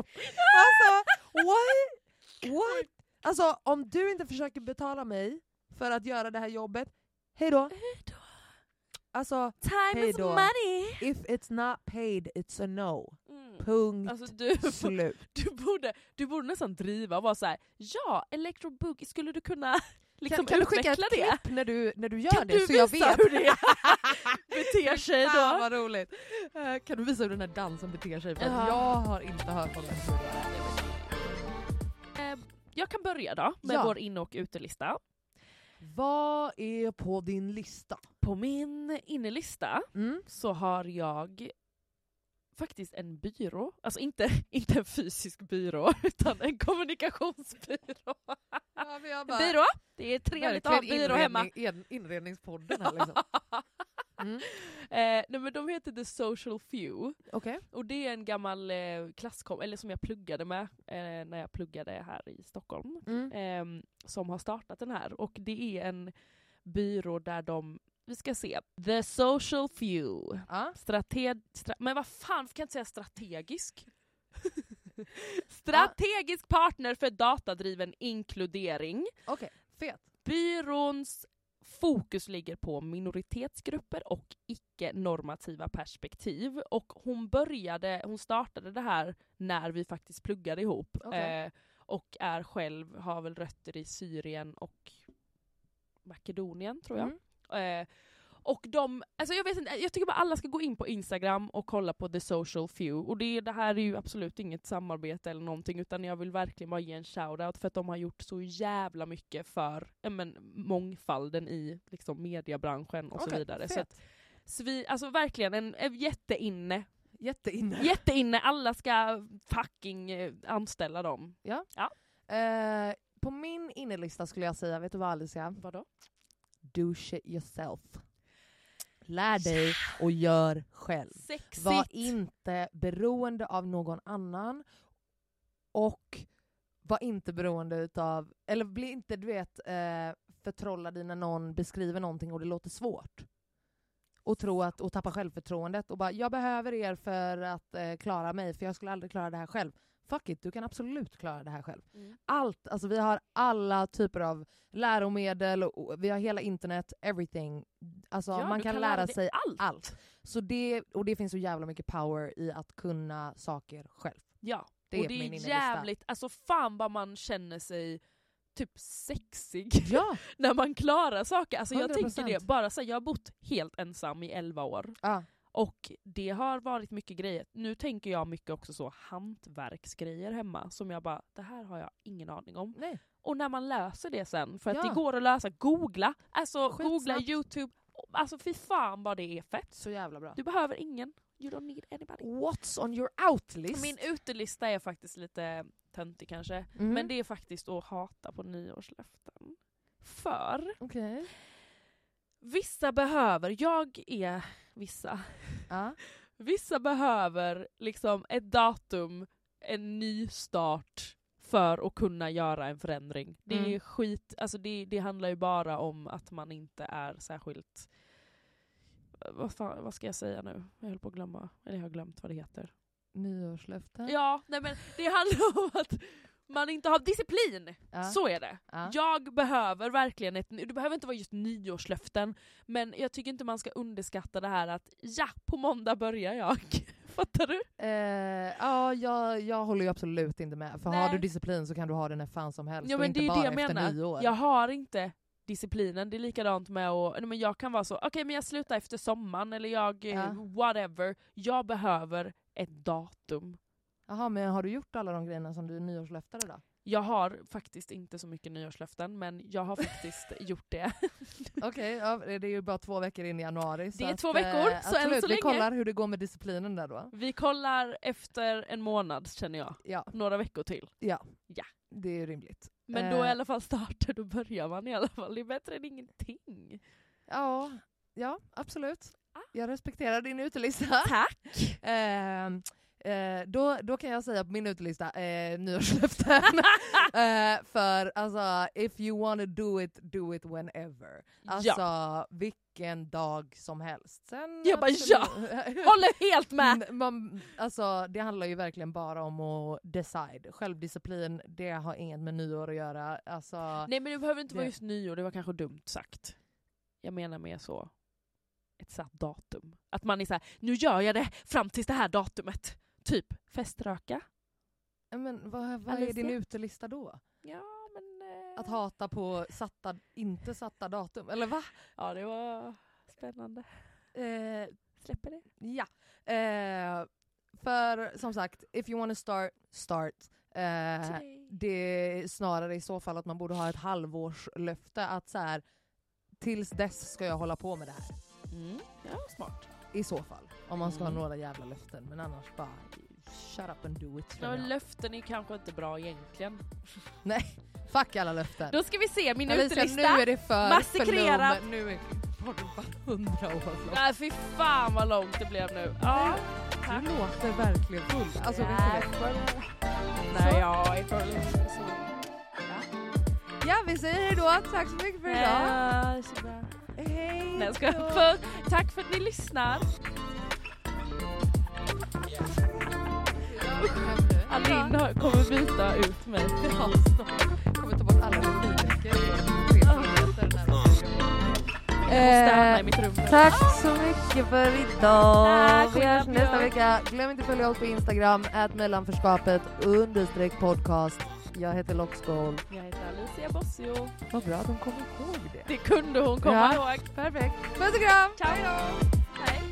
Alltså, what? what? Alltså om du inte försöker betala mig för att göra det här jobbet, hej då. Alltså,
Time
Hej
is
då.
money!
if it's not paid it's a no.
Mm.
Punkt
Alltså du,
slut.
du, borde, du borde nästan driva och vara såhär, ja, electro boogie, skulle du kunna liksom
kan du skicka
utveckla
ett
det?
klipp när du, när du gör
Kan
det
du
så jag
visa
vet?
hur det beter sig då?
Fan vad roligt! Eh, kan du visa hur den här dansen beter sig? För att
Ja.
jag har inte hört om den tidigare.
Eh, Jag kan börja då med
Ja.
vår inne och utelista.
Vad är på din lista?
På min innelista
Mm.
så har jag faktiskt en byrå. Alltså inte, inte en fysisk byrå, utan en kommunikationsbyrå. En byrå! Det är trevligt att ha en byrå hemma.
Inredningspodden här liksom. Mm.
Eh, nej men de heter The Social Few.
Okej.
Och det är en gammal eh, klasskom, eller som jag pluggade med eh, när jag pluggade här i Stockholm.
Mm.
ehm, som har startat den här. Och det är en byrå där de, vi ska se, The Social Few.
Ja.
Strate- stra- men vad fan, ska jag inte säga strategisk? strategisk partner för datadriven inkludering.
Okej, fet.
Byråns fokus ligger på minoritetsgrupper och icke-normativa perspektiv. Och hon började, hon startade det här när vi faktiskt pluggade ihop.
Okej.
Eh, och är själv, har väl rötter i Syrien och Makedonien tror jag.
Mm.
Eh, och de, alltså jag, vet inte, jag tycker bara alla ska gå in på Instagram och kolla på The Social Few. Och det, det här är ju absolut inget samarbete eller någonting utan jag vill verkligen bara ge en shoutout för att de har gjort så jävla mycket för ja, men, mångfalden i liksom, mediebranschen och så
Okej,
vidare. Så att,
Fet.
svi, alltså verkligen en, en jätteinne.
Jätteinne.
Jätteinne, alla ska fucking eh, anställa dem.
Eh, på min innelista skulle jag säga, vet du vad Alicia? Vadå? Do shit yourself. Lär dig och gör själv.
Sexigt!
Var inte beroende av någon annan. Och var inte beroende utav, eller bli inte du vet eh, förtrollad i när någon beskriver någonting och det låter svårt. Och, tro att, och tappa självförtroendet och bara jag behöver er för att eh, klara mig för jag skulle aldrig klara det här själv. Fuck it, du kan absolut klara det här själv.
Mm.
Allt, alltså vi har alla typer av läromedel, och, och vi har hela internet, everything. Alltså
Ja,
man
du
kan, lära
dig
sig
allt.
allt. Så det, och det finns så jävla mycket power i att kunna saker själv.
Ja.
Det
och
är på
det
min
är
innelista.
jävligt, alltså fan vad man känner sig typ sexig
Ja!
när man klarar saker. Alltså jag
100%.
tänker det, bara så här, jag har bott helt ensam i 11 år
ja.
och det har varit mycket grejer. Nu tänker jag mycket också så hantverksgrejer hemma som jag bara, det här har jag ingen aning om.
Nej.
Och när man löser det sen, för att
Ja.
det går att lösa, googla, alltså
Skitsnabbt.
googla youtube, alltså fy fan vad det är fett.
Så jävla bra.
Du behöver ingen, you don't need anybody.
What's on your outlist?
Min utelista är faktiskt lite töntig kanske,
Mm.
men det är faktiskt att hata på nyårslöften. För
Okej.
vissa behöver, jag är vissa,
Ja.
vissa behöver liksom ett datum, en ny start för att kunna göra en förändring. Det är
Mm.
skit, alltså det, det handlar ju bara om att man inte är särskilt vad, fan, vad ska jag säga nu? Jag höll på att glömma, eller jag har glömt vad det heter.
Nyårslöften.
Ja, nej men det handlar om att man inte har disciplin.
Ja.
Så är det.
Ja.
Jag behöver verkligen ett, det behöver inte vara just nyårslöften, men jag tycker inte man ska underskatta det här att ja, på måndag börjar jag. Fattar du?
Eh, ja, jag, jag håller ju absolut inte med. För har
Nej.
du disciplin så kan du ha den när fan som helst.
Ja,
och
men
inte
det är
bara
det jag
efter
menar.
nyår.
Jag har inte disciplinen, det är likadant med att, nej, men jag kan vara så, okej men jag slutar efter sommaren eller jag, eh,
Ja.
whatever. Jag behöver ett datum.
Jaha, men har du gjort alla de grejerna som du nyårslöftade då?
Jag har faktiskt inte så mycket nyårslöften men jag har faktiskt gjort det.
Okej, ja, det är ju bara två veckor in i januari.
Det är två veckor,
eh,
så än
absolut,
så
Vi
länge.
kollar hur det går med disciplinen där då.
Vi kollar efter en månad känner jag.
Ja,
Några veckor till.
det är ju rimligt.
Men då är
Eh.
i alla fall starten, då börjar man i alla fall. Det är bättre än ingenting.
Ja, ja absolut.
Ah.
Jag respekterar din utelista.
Tack!
Ehm, eh, då, då kan jag säga på min utelista, eh, nyårslöften. eh, för alltså, if you wanna do it, do it whenever. Alltså vilken dag som helst. Sen
Jag bara, ja.
absolut-
Håller helt med!
Mm, Man, alltså, det handlar ju verkligen bara om att decide. Självdisciplin, det har inget med nyår att göra. Alltså,
Nej men det behöver inte vara
Det-
just nyår, det var kanske dumt sagt. Jag menar mer så ett satt datum. Att man är så här, nu gör jag det fram tills det här datumet. Typ feströka.
men vad, vad är
Alicia?
din utelista då?
Ja men... Eh...
Att hata på satta, inte satta datum, eller va?
Ja det var spännande.
Eh,
Släpper det.
ja. Eh, för som sagt, if you wanna start, start. Eh, det är snarare i så fall att man borde ha ett halvårslöfte att så här, tills dess ska jag hålla på med det här.
Mm. Ja, smart.
I så fall. Om man ska ha
Mm.
några jävla löften. Men annars bara shut up and do it.
Ja,
från jag.
löften är kanske inte bra egentligen.
Fuck alla löften.
Då ska vi se min
Alicia,
utelista.
Nu är det för
Massakrera.
för lugn. Nu är podden bara hundra år lång.
Nej fy fan vad långt det blev nu. Ja, tack.
Du låter verkligen full. Alltså, vet du det?
Nej jag är full. Så.
Ja, vi säger hej då. Tack så mycket för idag.
Ja, så bra.
Hej
Nej, jag skojar. Puss. Tack för att ni lyssnar. Alin har- kommer byta ut mig.
Kommer ta bort alla rutinveckor. Jag måste hamna i mitt
rum.
Eh, Tack så mycket för idag.
Tack,
Vi hörs
Camilla.
nästa vecka. Glöm inte att följa oss på Instagram, mellanförskapet understreck podcast. Jag heter Lockskål.
Jag heter Alicia Bossio.
Vad bra att de kommer ihåg det.
Det kunde hon komma
Ja.
ihåg.
Perfekt. Puss och kram!
Ciao! Hej.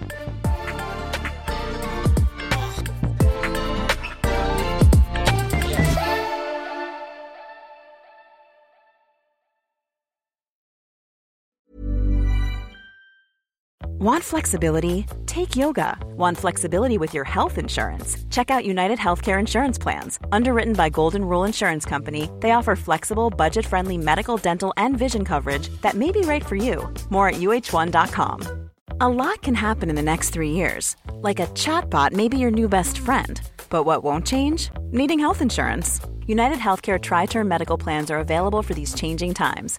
Want flexibility? Take yoga. Want flexibility with your health insurance? Check out United Healthcare Insurance Plans. Underwritten by Golden Rule Insurance Company, they offer flexible, budget friendly medical, dental, and vision coverage that may be right for you. More at uh1.com. A lot can happen in the next three years. Like a chatbot may be your new best friend. But what won't change? Needing health insurance. United Healthcare Tri Term Medical Plans are available for these changing times.